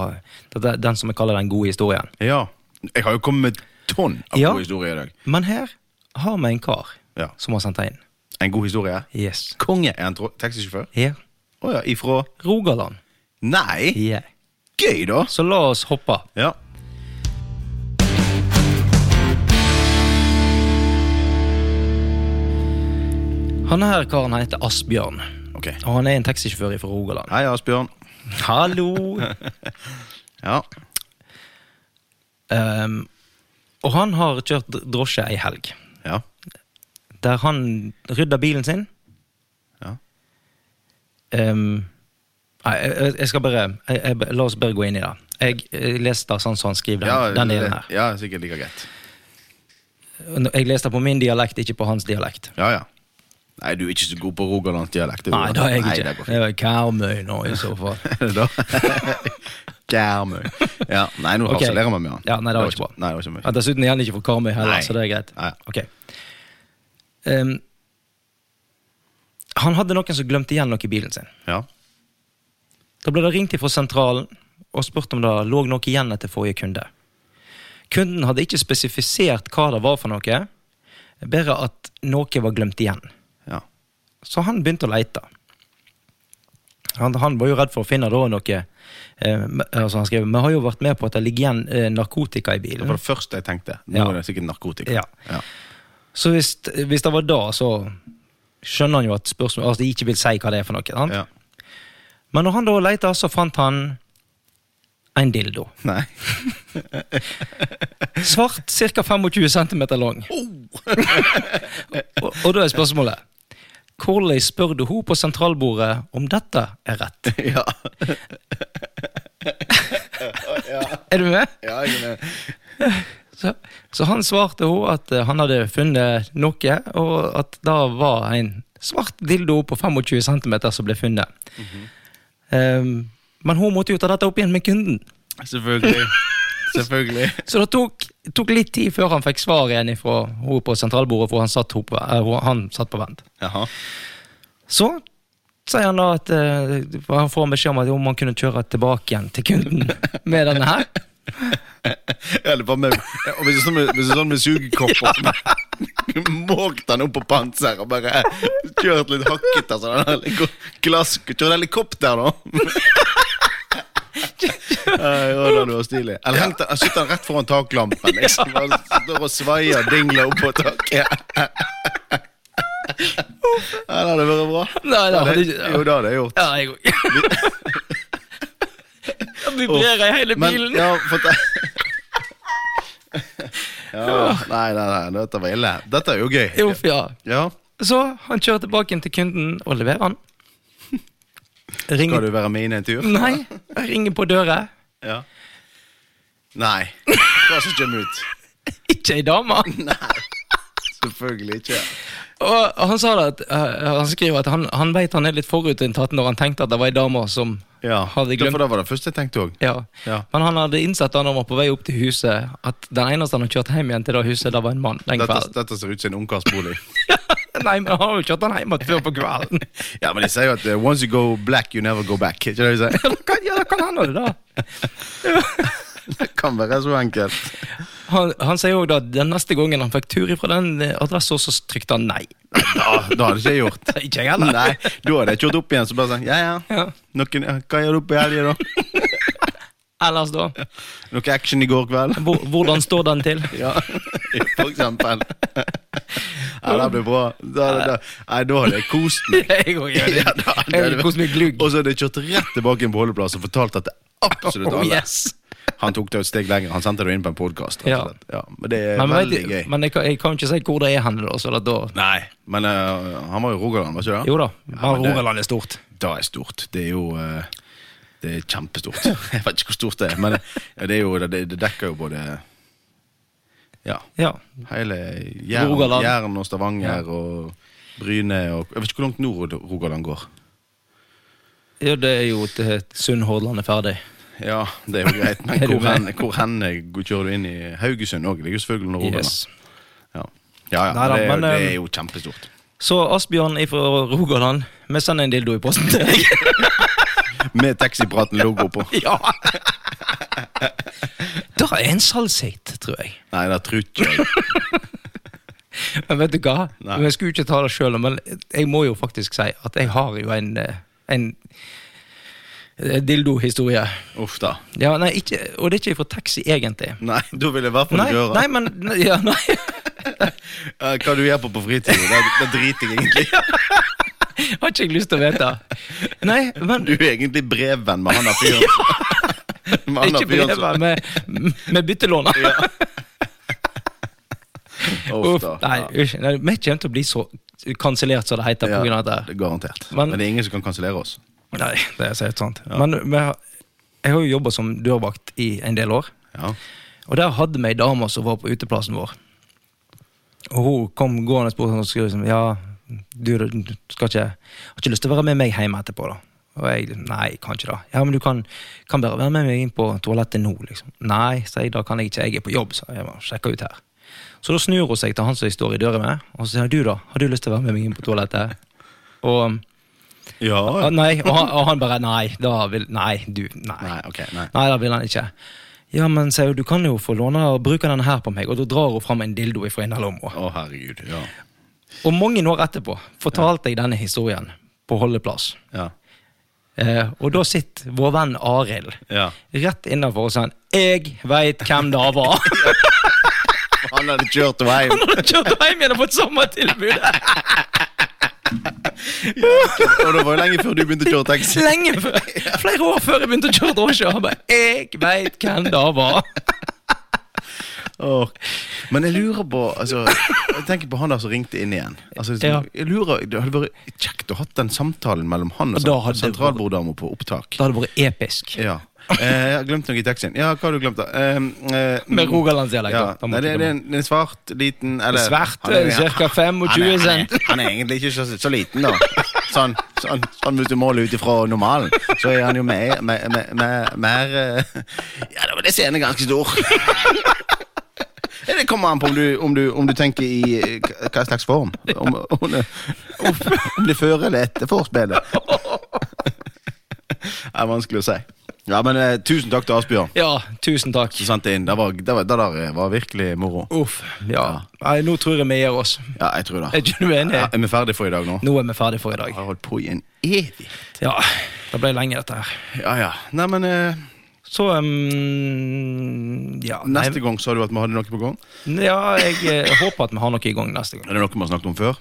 Speaker 1: dette, den som jeg kaller den gode historien.
Speaker 3: Ja. Jeg har jo kommet med tonn av
Speaker 1: Ja.
Speaker 3: gode historier i dag.
Speaker 1: Men her har vi en kar
Speaker 3: Ja.
Speaker 1: som har sendt deg inn.
Speaker 3: En god historie.
Speaker 1: Yes.
Speaker 3: Konge er en tro- taxisjåfør.
Speaker 1: Her.
Speaker 3: Å ja, ifra
Speaker 1: Rogaland.
Speaker 3: Nei!
Speaker 1: Yeah.
Speaker 3: Gøy, da!
Speaker 1: Så la oss hoppe.
Speaker 3: Ja.
Speaker 1: Han her karen han heter Asbjørn.
Speaker 3: Ok.
Speaker 1: Og han er en taxisjåfør fra Rogaland.
Speaker 3: Hei, Asbjørn.
Speaker 1: Hallo!
Speaker 3: Ja.
Speaker 1: Ehm, og han har kjørt dr- drosje ei helg.
Speaker 3: Ja.
Speaker 1: Der han rydder bilen sin.
Speaker 3: Ja.
Speaker 1: Ehm, nei, jeg, jeg- jeg skal bare jeg, jeg, La oss bare gå inn i det. Jeg, jeg leste det sånn som han skriver den, den delen her.
Speaker 3: Ja, sikkert like greit.
Speaker 1: Jeg leste på min dialekt, ikke på hans dialekt.
Speaker 3: Ja, ja. Nei, du er ikke så god på rogalandsdialekt. du.
Speaker 1: Nei, det er jeg
Speaker 3: Nei,
Speaker 1: ikke.
Speaker 3: det går
Speaker 1: Det er Karmøy nå, i så fall.
Speaker 3: fint. Da. Gærmøy. Ja, nei, nå
Speaker 1: Ok.
Speaker 3: harselerer vi med han.
Speaker 1: Ja, nei, det var ikke bra.
Speaker 3: Nei, det var ikke mye.
Speaker 1: Ja, dessuten er han ikke fra Karmøy heller,
Speaker 3: Nei.
Speaker 1: så det er greit.
Speaker 3: Nei.
Speaker 1: Ok. Ehm, han hadde noen som glemte igjen noe i bilen sin.
Speaker 3: Ja.
Speaker 1: Da ble det ringt fra sentralen og spurt om det lå noe igjen etter forrige kunde. Kunden hadde ikke spesifisert hva det var for noe, bare at noe var glemt igjen.
Speaker 3: ja.
Speaker 1: Så han begynte å leite. Han, han var jo redd for å finne da noe. Eh, men- altså han skrev vi har jo vært med på at det ligger igjen eh, narkotika i
Speaker 3: Det var
Speaker 1: bilen.
Speaker 3: det første jeg tenkte. Nå
Speaker 1: Ja.
Speaker 3: er det sikkert narkotika.
Speaker 1: Ja. Så hvis, hvis det var da, så skjønner han jo at spørsmålet, altså de ikke vil si hva det er for noe. Sant?
Speaker 3: Ja.
Speaker 1: Men når han da leita, så fant han en dildo.
Speaker 3: Nei.
Speaker 1: Svart, ca. 25 cm lang. og, og da er spørsmålet Hvordan spør du hun på sentralbordet om dette er rett?
Speaker 3: ja.
Speaker 1: Er du med?
Speaker 3: ja jeg, er med.
Speaker 1: Så, så han svarte hun at eh, han hadde funnet noe, og at det var en svart dildo på 25 cm som ble funnet. Ehm, men hun måtte jo ta dette opp igjen med kunden.
Speaker 3: Selvfølgelig. Selvfølgelig.
Speaker 1: Så det tok, tok litt tid før han fikk svar igjen fra hun på sentralbordet, for han satt, hop- eh, hun- han satt på vent.
Speaker 3: Jaha.
Speaker 1: Så sier han da at eh, han får beskjed om at om han kunne kjøre tilbake igjen til kunden med denne her.
Speaker 3: Ja, det var med, og hvis det er sånn med, hvis det er sånn med sugekopper ja. Måkt han opp på panser og bare kjørt litt hakket altså, den der heliko- glass, Kjørt helikopter, da! Nei, å, det var stilig. Eller hengt han, satt han rett foran taklampen. Liksom, og står og svaier og dingler opp på taket. Ja, det hadde vært bra.
Speaker 1: Nei, det hadde
Speaker 3: det,
Speaker 1: ikke-
Speaker 3: jo, det hadde jeg gjort.
Speaker 1: Ja, jeg òg. Det vibrerer i hele
Speaker 3: Men,
Speaker 1: bilen.
Speaker 3: ja, for det... Ja, nei, nei, nei, dette var ille. Dette er jo gøy.
Speaker 1: Jo, for ja.
Speaker 3: Ja,
Speaker 1: Så han kjører tilbake igjen til kunden og leverer han.
Speaker 3: skal
Speaker 1: Ringer,
Speaker 3: du være med inn en tur?
Speaker 1: nei, jeg ringer på døra.
Speaker 3: Ja. Nei. Hva som kommer ut?
Speaker 1: Ikke ei dame.
Speaker 3: Selvfølgelig ikke.
Speaker 1: Og han sa det at eh, Han skriver at han, han veit han er litt forutinntatt når han tenkte at det var ei dame som
Speaker 3: Ja,
Speaker 1: hadde glemt
Speaker 3: For det var det første jeg tenkte òg.
Speaker 1: Ja.
Speaker 3: Ja.
Speaker 1: Men han hadde innsett da han var på vei opp til huset, at den eneste han hadde kjørt hjem igjen til det huset, det var en mann den
Speaker 3: Dette,
Speaker 1: kvelden.
Speaker 3: dette ser ut som en ungkarsbolig.
Speaker 1: Nei, men han har jo kjørt han hjem igjen før på kvelden.
Speaker 3: Ja, men de sier jo at eh, once you go black, you never go back. Ikke det de sier?
Speaker 1: Ja, det kan, ja, det kan hende det, da.
Speaker 3: kan være så enkelt.
Speaker 1: Han, han sier òg at den neste gangen han fikk tur ifra den eh, adressen, så trykte han nei.
Speaker 3: Da, da hadde ikke jeg gjort.
Speaker 1: Ikke jeg heller.
Speaker 3: Nei, Da hadde jeg kjørt opp igjen, så bare sånn, ja ja,
Speaker 1: Ja.
Speaker 3: Noen, ja, hva gjør du på helgen da?
Speaker 1: Ellers, da?
Speaker 3: Noe action i går kveld?
Speaker 1: Hvor- Hvordan står den til?
Speaker 3: Ja, for eksempel. Ja, det blir bra. Da, da, da. Nei, da hadde jeg kost meg.
Speaker 1: Jeg òg gjør det.
Speaker 3: Ja, da hadde
Speaker 1: Jeg vil kose meg glugg.
Speaker 3: Og så hadde jeg kjørt rett tilbake inn på holdeplass og fortalt at det er absolutt
Speaker 1: Oh,
Speaker 3: alle.
Speaker 1: yes.
Speaker 3: Han tok det et steg lenger. Han sendte det inn på en podkast.
Speaker 1: Ja.
Speaker 3: Ja, men det er
Speaker 1: Men, vet,
Speaker 3: veldig gøy.
Speaker 1: du- men jeg, kan- jeg kan ikke si hvor det er hen, da. Så da, da
Speaker 3: Nei, men eh, han var jo i Rogaland, var ikke det?
Speaker 1: jo da.
Speaker 3: Ja,
Speaker 1: Bare
Speaker 3: men det-
Speaker 1: Rogaland er stort.
Speaker 3: Det er stort. Det er jo eh, Det er kjempestort. Jeg vet ikke hvor stort det er, men eh, det, er jo, det, det dekker jo både Ja,
Speaker 1: Ja.
Speaker 3: hele Jæren,
Speaker 1: Rogaland.
Speaker 3: Jæren og Stavanger og Bryne og Jeg vet ikke hvor langt nord Rogaland går.
Speaker 1: ja det er jo til Sunnhordland er ferdig.
Speaker 3: Ja, det er jo greit, men
Speaker 1: Er du
Speaker 3: hvor
Speaker 1: med?
Speaker 3: hen, hvor hen kjører du inn i Haugesund òg? Det ligger jo selvfølgelig under Rogaland.
Speaker 1: Yes.
Speaker 3: Ja, ja, ja
Speaker 1: Neida,
Speaker 3: det, er jo,
Speaker 1: men,
Speaker 3: det
Speaker 1: eh,
Speaker 3: er jo kjempestort.
Speaker 1: Så Asbjørn ifra Rogaland, vi sender en dildo i posten til deg.
Speaker 3: Med taxipraten-logo på.
Speaker 1: ja! Det er en salgshate, tror jeg.
Speaker 3: Nei, det tror ikke jeg.
Speaker 1: Men vet du hva?
Speaker 3: Nei.
Speaker 1: Jeg skulle ikke ta det sjøl, men jeg må jo faktisk si at jeg har jo en, eh, en eh, dildohistorie.
Speaker 3: Uff da.
Speaker 1: Ja, nei, ikke, og det er ikke fra taxi, egentlig.
Speaker 3: Nei, da vil jeg i hvert fall
Speaker 1: Nei,
Speaker 3: ikke høre.
Speaker 1: nei, men nei, ja, nei.
Speaker 3: Eh, Hva du gjør på på fritiden, det, det driter jeg egentlig i.
Speaker 1: Jeg har ikke jeg lyst til å vite. Nei, men
Speaker 3: Du er egentlig brevvenn med han der fyren. Med han der
Speaker 1: ikke
Speaker 3: fyren
Speaker 1: brevet
Speaker 3: som-
Speaker 1: med, med byttelåner.
Speaker 3: Uff
Speaker 1: Uff,
Speaker 3: da.
Speaker 1: nei,
Speaker 3: Ja.
Speaker 1: usj, nei, vi kommer til å bli så kansellert som det heter
Speaker 3: Ja,
Speaker 1: pga. Ja. dette.
Speaker 3: det er garantert.
Speaker 1: Men-
Speaker 3: Men, det er ingen som kan kansellere oss.
Speaker 1: Nei, det er så helt sant. Men vi har, jeg har jo jobba som dørvakt i en del år.
Speaker 3: Ja.
Speaker 1: Og der hadde vi ei dame som var på uteplassen vår. Og hun kom gående og spurte og skulle liksom, ja, du, du skal ikke, har ikke lyst til å være med meg hjem etterpå. da. Og jeg nei, kan ikke det. Ja, men du kan, kan bare være med meg inn på toalettet nå. liksom. Nei, sa jeg, da kan jeg ikke, jeg er på jobb. Så jeg må sjekke ut her. Så da snur hun seg til han som jeg står i døra med, og så sier hun, du da, har du lyst til å være med meg inn på toalettet? Og,
Speaker 3: ja.
Speaker 1: ah, nei, og, han, og han bare nei, da vil, nei, du, nei.
Speaker 3: Nei, ok, nei.
Speaker 1: Nei, det vil han ikke. Ja, men sier hun, du kan jo få låne og bruke den her på meg, og da drar hun fram en dildo ifra innerlomma.
Speaker 3: Å, herregud. Ja.
Speaker 1: Og mange år etterpå fortalte jeg denne historien på holdeplass.
Speaker 3: Ja.
Speaker 1: Eh, og da sitter vår venn Arild
Speaker 3: Ja.
Speaker 1: rett innafor og sier 'Jeg veit hvem det var'.
Speaker 3: Han hadde kjørt henne hjem.
Speaker 1: Han hadde kjørt hjem igjen og fått sommertilbudet
Speaker 3: Og det var jo lenge før du begynte å kjøre taxi.
Speaker 1: lenge før. Flere år før jeg begynte å kjøre drosje. Han bare 'Jeg veit hvem det var'.
Speaker 3: Åh. Men jeg lurer på altså, Jeg tenker på han der som ringte inn igjen. Altså,
Speaker 1: Ja.
Speaker 3: jeg lurer, Det hadde vært kjekt å hatt den samtalen mellom han og
Speaker 1: Da hadde
Speaker 3: sent-
Speaker 1: det vært-
Speaker 3: sentralborddama på opptak.
Speaker 1: Det hadde vært episk.
Speaker 3: Ja. Eh, jeg har glemt noe i taxien. Ja, hva har du glemt, da? Eh, eh,
Speaker 1: Med rogalandsdialekt.
Speaker 3: ja.
Speaker 1: da. Da
Speaker 3: Nei,
Speaker 1: måtte
Speaker 3: det,
Speaker 1: du-
Speaker 3: det, er en, det er en svart, liten eller,
Speaker 1: Svart,
Speaker 3: Han er-
Speaker 1: cirka 25
Speaker 3: han,
Speaker 1: cent.
Speaker 3: er, han er egentlig ikke så, så liten, da. Sånn, sånn, sånn hvis du måler ut ifra normalen, så er han jo mer, mer, mer, mer, mer eh, Ja, da var det scenen ganske stor. Ja, Det kommer an på om du, om du, om du tenker i eh, hva hva slags form. Om, om, det- om, om det fører eller etter forspillet. Det er vanskelig å si. Ja, men eh, Tusen takk til Asbjørn.
Speaker 1: Ja, tusen takk.
Speaker 3: som sendte inn. Det, var, det, var, det der eh, var virkelig moro.
Speaker 1: Uff, ja. Nei, nå tror jeg vi gir oss.
Speaker 3: Ja, jeg tror
Speaker 1: Er
Speaker 3: det.
Speaker 1: ikke du enig?
Speaker 3: Ja, er vi ferdige for i dag nå?
Speaker 1: Nå er vi ferdige for i dag.
Speaker 3: Jeg har holdt på i en evig
Speaker 1: Ja, det ble lenge dette her.
Speaker 3: Ja, ja. Nei, men eh,
Speaker 1: Så um, ja, nei,
Speaker 3: neste gang sa du at vi hadde noe på gang.
Speaker 1: ja, jeg eh, håper at vi har noe i gang neste gang.
Speaker 3: Er det noe vi har snakket om før?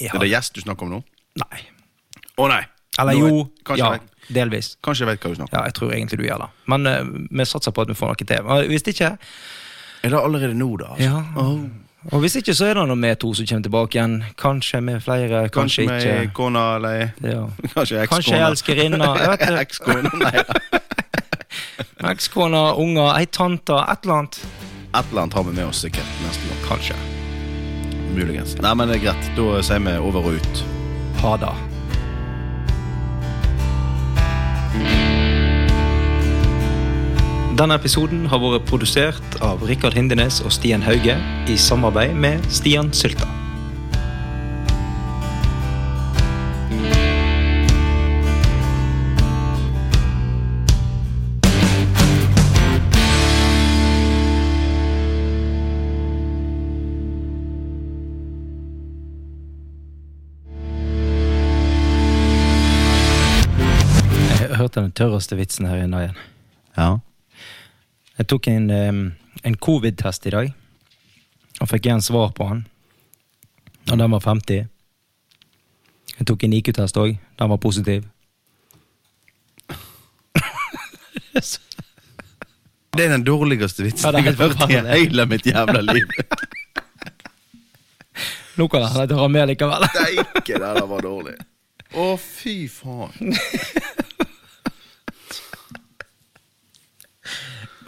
Speaker 1: Ja,
Speaker 3: Er det gjest du snakker om nå?
Speaker 1: nei.
Speaker 3: Å nei!
Speaker 1: Eller
Speaker 3: Nå er-
Speaker 1: jo,
Speaker 3: Kanskje,
Speaker 1: ja,
Speaker 3: jeg, vet-
Speaker 1: delvis.
Speaker 3: kanskje jeg vet hva du snakker om.
Speaker 1: Ja, jeg tror egentlig du gjør det. Men eh, vi satser på at vi får noe til. Og Hvis ikke,
Speaker 3: Er det allerede nå, da? Altså?
Speaker 1: ja.
Speaker 3: Åh.
Speaker 1: Og hvis ikke, så er det nå vi to som kommer tilbake igjen. Kanskje med flere,
Speaker 3: Kanskje
Speaker 1: kanskje,
Speaker 3: med kona eller
Speaker 1: ikke. Ja.
Speaker 3: Kanskje
Speaker 1: Kanskje
Speaker 3: ekskona.
Speaker 1: elskerinna. Jeg vet ikke.
Speaker 3: Ekskona, nei. Et
Speaker 1: Ekskona, unger, ei tante, et eller annet.
Speaker 3: eller annet har vi med oss sikkert neste gang.
Speaker 1: Kanskje.
Speaker 3: Muligens. Nei, men det er greit. Da sier vi over og ut.
Speaker 1: Ha det. Denne episoden har vært produsert av Rikard Hindenes og Stian Hauge i samarbeid med Stian Sylta. fått den tørreste vitsen her inne igjen.
Speaker 3: Ja.
Speaker 1: Jeg tok en, em, en covid-test i dag, og fikk igjen svar på han. Og den var 50. Jeg tok en IQ-test òg. Den var positiv.
Speaker 3: Det er den dårligste
Speaker 1: Ja,
Speaker 3: vitsen
Speaker 1: det er
Speaker 3: jeg har
Speaker 1: helt
Speaker 3: hørt i
Speaker 1: forferdelig.
Speaker 3: hele mitt jævla liv.
Speaker 1: Nå kan jeg dra med likevel.
Speaker 3: Steike, det der var dårlig. Å, fy faen.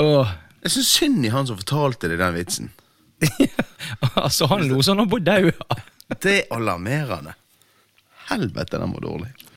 Speaker 1: Åh.
Speaker 3: Jeg syns synd i han som fortalte deg den vitsen.
Speaker 1: altså, han lo sånn han bodde dau.
Speaker 3: Det er alarmerende. Helvete, den var dårlig.